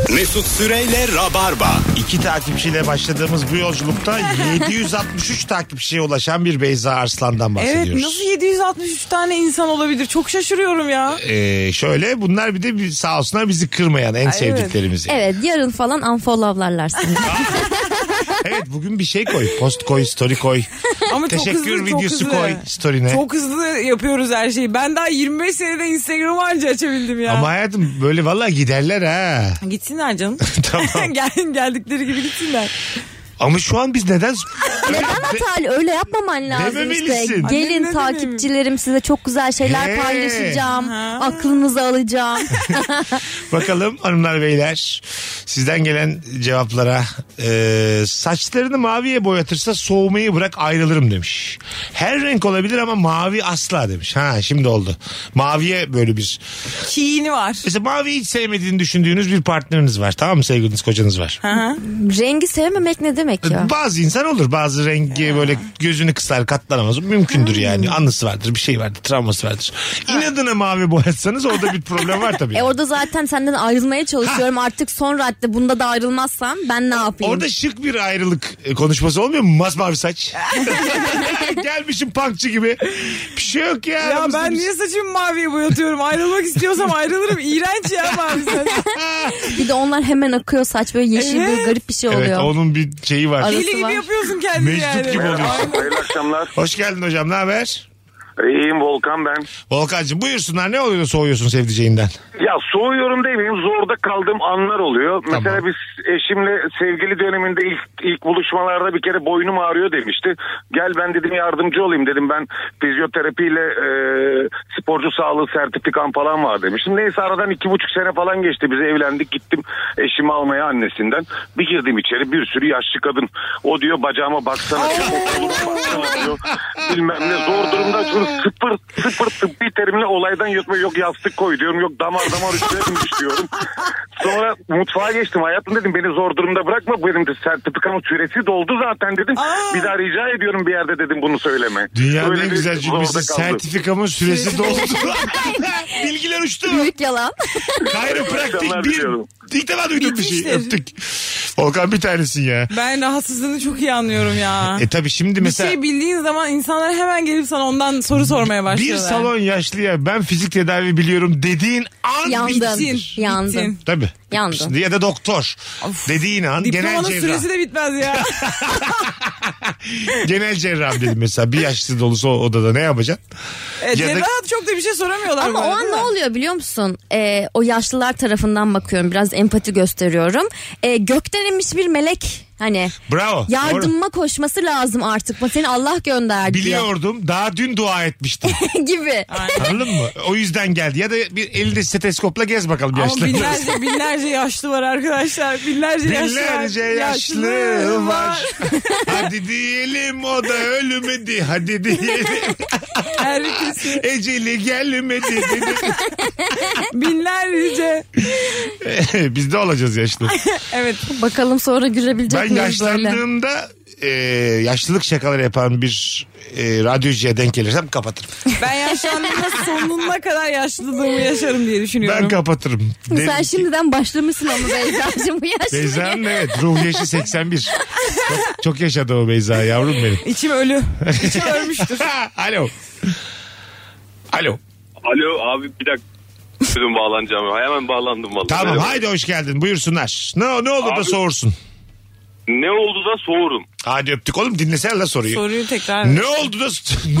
B: Mesut Süreyle Rabarba.
C: İki takipçiyle başladığımız bu yolculukta 763 takipçiye ulaşan bir Beyza Arslan'dan bahsediyoruz.
E: Evet nasıl 763 tane insan olabilir? Çok şaşırıyorum ya.
C: Ee, şöyle bunlar bir de bir- sağ olsunlar bizi kırmayan en
E: Ay,
C: sevdiklerimiz. yani.
D: Evet yarın falan unfollowlarlar sizi.
C: Evet. bugün bir şey koy. Post koy, story koy.
E: Ama
C: Ee, Teşekkür
E: çok hızlı,
C: videosu
E: çok hızlı.
C: koy story'ne.
E: Çok hızlı yapıyoruz her şeyi. Ben daha 25 senede Instagram'ı anca açabildim ya.
C: Ama hayatım böyle vallahi giderler ha.
E: Gitsinler canım.
C: Tamam.
E: Gel, geldikleri gibi gitsinler.
C: Ama şu an biz neden...
D: Neden hatalı öyle yapmaman lazım işte.
C: Dememelisin.
E: Annem ne
D: Gelin
E: demek?
D: takipçilerim size çok güzel şeyler
C: He.
D: paylaşacağım.
E: Ha.
D: Aklınızı alacağım.
C: Bakalım hanımlar beyler sizden gelen cevaplara Ee, saçlarını maviye boyatırsa soğumayı bırak ayrılırım demiş. Her renk olabilir ama mavi asla demiş. Ha şimdi oldu. Maviye böyle bir
E: Kiyini var.
C: mesela maviyi hiç sevmediğini düşündüğünüz bir partneriniz var tamam mı sevgiliniz kocanız var.
D: Rengi sevmemek ne demek ya?
C: E, Bazı insan olur. Bazı rengi böyle gözünü kısar katlanamaz. Mümkündür
D: Hmm.
C: yani. Anısı vardır bir şey vardır travması vardır. İnadına mavi boyatsanız orada bir problem var tabii.
D: E orada zaten senden ayrılmaya çalışıyorum. Artık son radde bunda da ayrılmazsam ben ne yapayım?
C: Orada şık bir ayrılık e, konuşması olmuyor mu? Masmavi saç. Gelmişim punkçı gibi. Bir şey yok ya.
E: Ya
C: aramızda
E: ben
C: bir-
E: niye saçımı maviye boyatıyorum? Ayrılmak istiyorsam ayrılırım. İğrenç ya mavi saç.
D: Bir de onlar hemen akıyor saç böyle yeşil
E: Evet.
D: böyle garip bir şey oluyor.
C: Evet onun bir şeyi var.
D: Arası
E: Deli gibi
D: var.
E: yapıyorsun kendini
C: Meczup
E: yani.
C: gibi oluyorsun.
E: Aynen.
H: Hayırlı akşamlar.
C: Hoş geldin hocam ne haber?
H: İyiyim Volkan ben.
C: Volkan'cığım buyursunlar ne oluyor da soğuyorsun sevdiceğinden?
H: Ya soğuyorum demeyeyim zorda kaldığım anlar oluyor.
C: Tamam.
H: Mesela biz eşimle sevgili döneminde ilk ilk buluşmalarda bir kere boynum ağrıyor demişti. Gel ben dedim yardımcı olayım dedim ben fizyoterapiyle e, sporcu sağlığı sertifikam falan var demiştim. Neyse aradan iki buçuk sene falan geçti biz evlendik gittim eşimi almaya annesinden. Bir girdim içeri bir sürü yaşlı kadın o diyor bacağıma baksana Koluma baksana diyor. bilmem ne zor durumda çünkü sıfır sıfır tıbbi terimle olaydan yutma yok yastık koy diyorum yok damar damar üstüne binmiş diyorum. Sonra mutfağa geçtim hayatım dedim beni zor durumda bırakma benim de sertifikamın süresi doldu zaten dedim.
E: Aa.
H: Bir daha rica ediyorum bir yerde dedim bunu söyleme.
C: Dünyanın
H: Öyle
C: en
H: bir
C: güzel cümlesi
H: zorda kaldım.
C: sertifikamın süresi doldu. Bilgiler uçtu.
D: Büyük yalan.
C: Kayropraktik
H: Akşamlar
C: bir.
H: diliyorum.
C: İlk defa duydum bir şey.
E: Bitmiştir.
C: Öptük. Volkan bir tanesin ya.
E: Ben rahatsızlığını çok iyi anlıyorum ya.
C: E tabi şimdi
E: Bir
C: mesela
E: şey bildiğin zaman insanlar hemen gelip sana ondan soru sormaya
C: bir
E: başlıyorlar.
C: salon yaşlıya ben fizik tedavi biliyorum dediğin an
D: Yandın.
C: bitmiştir.
D: Yandın.
C: Tabii.
D: Yandın.
C: Şimdi Ya da doktor. Dediğin an genel
E: Diplomanın
C: cerrah.
E: süresi de bitmez ya.
C: Genel cerrah dedim mesela. Bir yaşlı dolusu o odada ne yapacaksın?
E: E,
C: Ya da-
E: cerrah çok da bir şey soramıyorlar.
D: Ama
E: bu
D: o
E: arada,
D: an
E: değil
D: ne
E: mi?
D: oluyor biliyor musun? Ee, o yaşlılar tarafından bakıyorum. Biraz empati gösteriyorum. Ee, gökten inmiş bir melek hani
C: Bravo. Doğru.
D: yardımıma koşması lazım artık. Bak Seni Allah gönderdi diyor.
C: Biliyordum. Daha dün dua etmiştim.
D: gibi.
C: Anladın mı? O yüzden geldi. Ya da bir elinde steteskopla gez bakalım
E: Ama
C: yaşlı.
E: binlerce binlerce yaşlı var arkadaşlar. Binlerce, yaşlı
C: Binlerce yaşlı
E: var.
C: var. Hadi diyelim o da ölmedi. Hadi diyelim
E: Herkesi
C: eceli gelmedi.
E: binlerce.
C: Biz de olacağız yaşlı.
E: Evet.
D: Bakalım sonra gülebilecek
C: Ben
D: miyiz böyle?
C: yaşlandığımda e, yaşlılık şakaları yapan bir e, radyocuya denk gelirsem kapatırım.
E: Ben yaşlandığımda sonuna kadar yaşlılığımı yaşarım diye düşünüyorum.
C: Ben kapatırım.
D: Sen
C: Derim ki-
D: şimdiden başlamışsın ama Beyza'cığım bu yaşlı.
C: Beyza'nın evet ruh yaşı 81. Çok, çok yaşadı o Beyza yavrum benim.
E: İçim ölü. İçim ölmüştür.
C: Alo. Alo.
F: Alo abi bir dakika. Dedim bağlanacağım. Hemen bağlandım vallahi.
C: Tamam
F: Merhaba.
C: haydi hoş geldin buyursunlar. Ne, ne olur da
F: Abi-
C: soğursun.
F: Ne oldu da soğurum.
C: Hadi öptük oğlum dinlesene la soruyu.
E: Soruyu tekrar.
C: Ne oldu da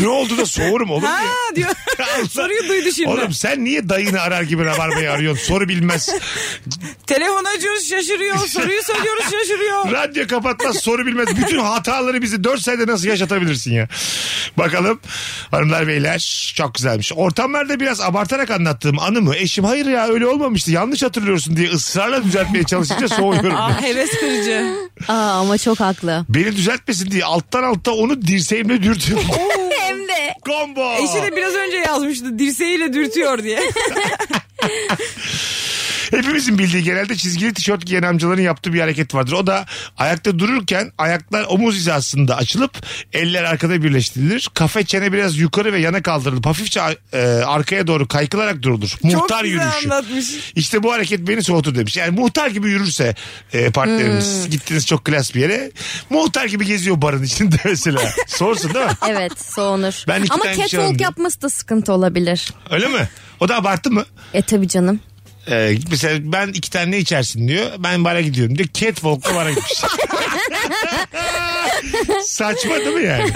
C: ne oldu da soğurum oğlum
E: Ha
C: diye.
E: diyor.
C: Allah.
E: Soruyu duydu şimdi.
C: Oğlum sen niye dayını arar gibi rabarbayı arıyorsun? Soru bilmez.
E: Telefon açıyoruz şaşırıyor. Soruyu söylüyoruz şaşırıyor.
C: Radyo kapatmaz soru bilmez. Bütün hataları bizi 4 sayede nasıl yaşatabilirsin ya? Bakalım hanımlar beyler çok güzelmiş. Ortamlarda biraz abartarak anlattığım anı mı? Eşim hayır ya öyle olmamıştı yanlış hatırlıyorsun diye ısrarla düzeltmeye çalışınca soğuyorum.
E: Aa, Ah, heves kırıcı.
D: Aa, ama çok haklı.
C: Beni düzeltmesin diye alttan alta onu dirseğimle dürtüyorum.
D: Hem de
C: Combo.
E: Eşi de biraz önce yazmıştı dirseğiyle dürtüyor diye.
C: Hepimizin bildiği genelde çizgili tişört giyen amcaların yaptığı bir hareket vardır. O da ayakta dururken ayaklar omuz hizasında açılıp eller arkada birleştirilir. Kafe çene biraz yukarı ve yana kaldırılıp hafifçe e, arkaya doğru kaykılarak durulur. Muhtar
E: Çok güzel
C: yürüyüşü.
E: anlatmış.
C: İşte bu hareket beni soğutur demiş. Yani muhtar gibi yürürse e, partneriniz
E: Hmm.
C: gittiniz çok klas bir yere. Muhtar gibi geziyor barın içinde mesela. Sorsun değil mi?
D: Evet soğunur.
C: Ben iki
D: Ama
C: tane şey
D: catwalk
C: aldım.
D: yapması da sıkıntı olabilir.
C: Öyle mi? O da abarttı mı?
D: E tabi canım.
C: Ee, mesela ben iki tane ne içersin diyor. Ben bara gidiyorum diyor. Catwalk'la bara gitmiş. Saçma değil mi yani?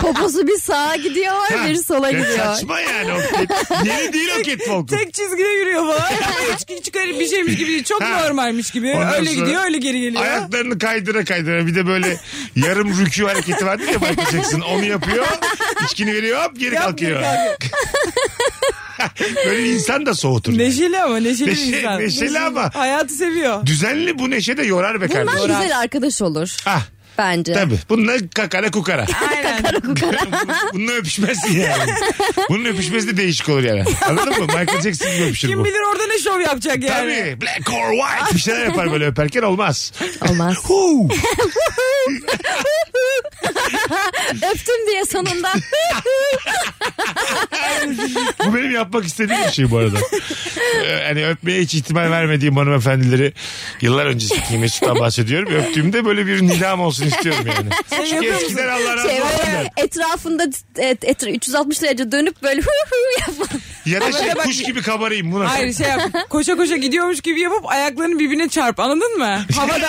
D: Poposu bir sağa gidiyor
C: Ha,
D: bir sola
C: ya
D: gidiyor.
C: Saçma yani. O cat... Yeni değil o catwalk.
E: Tek çizgide yürüyor falan. Ama hiç hiç garip bir şeymiş gibi değil. Çok
C: Ha.
E: normalmiş gibi.
C: Ondan
E: öyle
C: sonra
E: gidiyor öyle geri geliyor.
C: Ayaklarını kaydıra kaydıra bir de böyle yarım rükû hareketi vardı ya Michael Jackson. Onu yapıyor. içkini veriyor hop geri
E: Yapmıyor,
C: kalkıyor.
E: kalkıyor.
C: Böyle bir insan da soğutur.
E: Neşeli ama neşeli bir
C: Neşe-
E: insan.
C: neşeli ama-
E: Hayatı seviyor.
C: Düzenli bu neşe de yorar be
D: Bunlar
C: kardeşim.
D: güzel arkadaş olur
C: Ah
D: bence.
C: tabii. Bunlar kakara kukara.
E: Aynen.
C: Bununla öpüşmezsin yani. Bunun öpüşmesi de değişik olur yani. Anladın mı? Michael Jackson gibi öpüşür
E: Kim
C: bu.
E: bilir orada ne şov yapacak yani.
C: Tabii. Black or white bir şeyler yapar böyle öperken olmaz.
D: Olmaz.
C: Huu.
D: Öptüm diye sonunda.
C: bu benim yapmak istediğim bir şey bu arada. Ee, hani öpmeye hiç ihtimal vermediğim hanımefendileri yıllar öncesindeki Mesut'tan bahsediyorum. Öptüğümde böyle bir nidam olsun istiyorum yani. Çünkü eskiden Allah razı
D: şey
C: olsun.
D: böyle
C: der.
D: etrafında e, et, et, 360 derece dönüp böyle hu hu yapmak.
C: Ya da şey
E: Böyle bak-
C: kuş gibi kabarayım buna.
E: Hayır şey yap. Koşa koşa gidiyormuş gibi yapıp ayaklarını birbirine çarp. Anladın mı? Havada.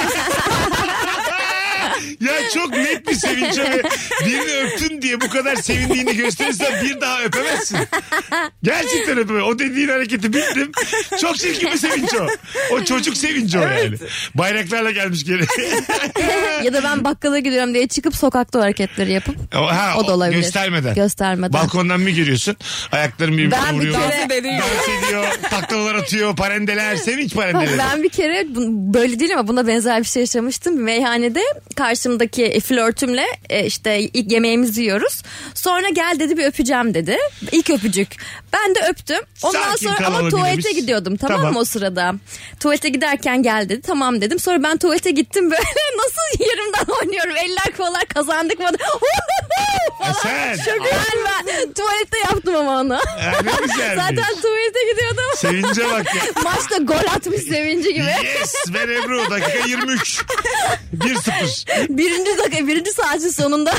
C: Ya çok net bir sevinç ve birini öptün diye bu kadar sevindiğini gösterirsen bir daha öpemezsin. Gerçekten öpemez. O dediğin hareketi bildim. Çok çirkin bir sevinç o. O çocuk sevinci o yani. Bayraklarla gelmiş geri.
D: ya da ben bakkala gidiyorum diye çıkıp sokakta o hareketleri yapıp
C: O- ha,
D: o da olabilir.
C: Göstermeden.
D: Göstermeden.
C: Balkondan mı giriyorsun? Ayakların birbirine
D: Ben bir
C: vuruyor.
D: kere-
E: Dans ediyor.
C: Dans ediyor. Taklalar atıyor. Parendeler. Sevinç
D: Bak
C: parendeleri.
D: ben bir kere bu- böyle değil ama buna benzer bir şey yaşamıştım. Bir meyhanede karşımdaki e, flörtümle e, işte ilk yemeğimizi yiyoruz. Sonra gel dedi bir öpeceğim dedi. İlk öpücük. Ben de öptüm. Ondan
C: Sakin
D: sonra ama
C: kalalım
D: tuvalete
C: yine biz.
D: gidiyordum tamam,
C: Tamam.
D: mı o sırada? Tuvalete giderken gel dedi. Tamam dedim. Sonra ben tuvalete gittim böyle nasıl yerimden oynuyorum. Eller kollar kazandık mı?
C: E sen.
D: Çok ben, ben tuvalette yaptım ama onu.
C: Ya ne güzelmiş.
D: Zaten tuvalete gidiyordum.
C: Sevince bak ya.
D: Maçta gol atmış sevinci gibi.
C: Yes ben Ebru dakika 23. 1-0.
D: birinci dakika birinci saatin sonunda.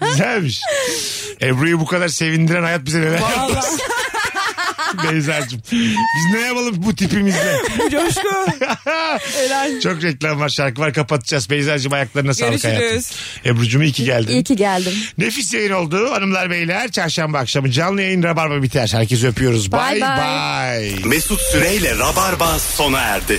C: Güzelmiş. Ebru'yu bu kadar sevindiren hayat bize neler yaptı
E: Vallahi.
C: Beyza'cığım. Biz ne yapalım bu tipimizle?
E: Coşku. Helal.
C: Çok reklam var şarkı var kapatacağız. Beyza'cığım ayaklarına sağlık
E: Görüşürüz.
C: hayatım. Ebru'cum iyi ki geldin.
D: İyi ki geldim.
C: Nefis yayın oldu hanımlar beyler. Çarşamba akşamı canlı yayın Rabarba biter. Herkesi öpüyoruz. Bye
D: Bye
C: bye.
D: bye.
B: Mesut Süreyle Rabarba sona erdi.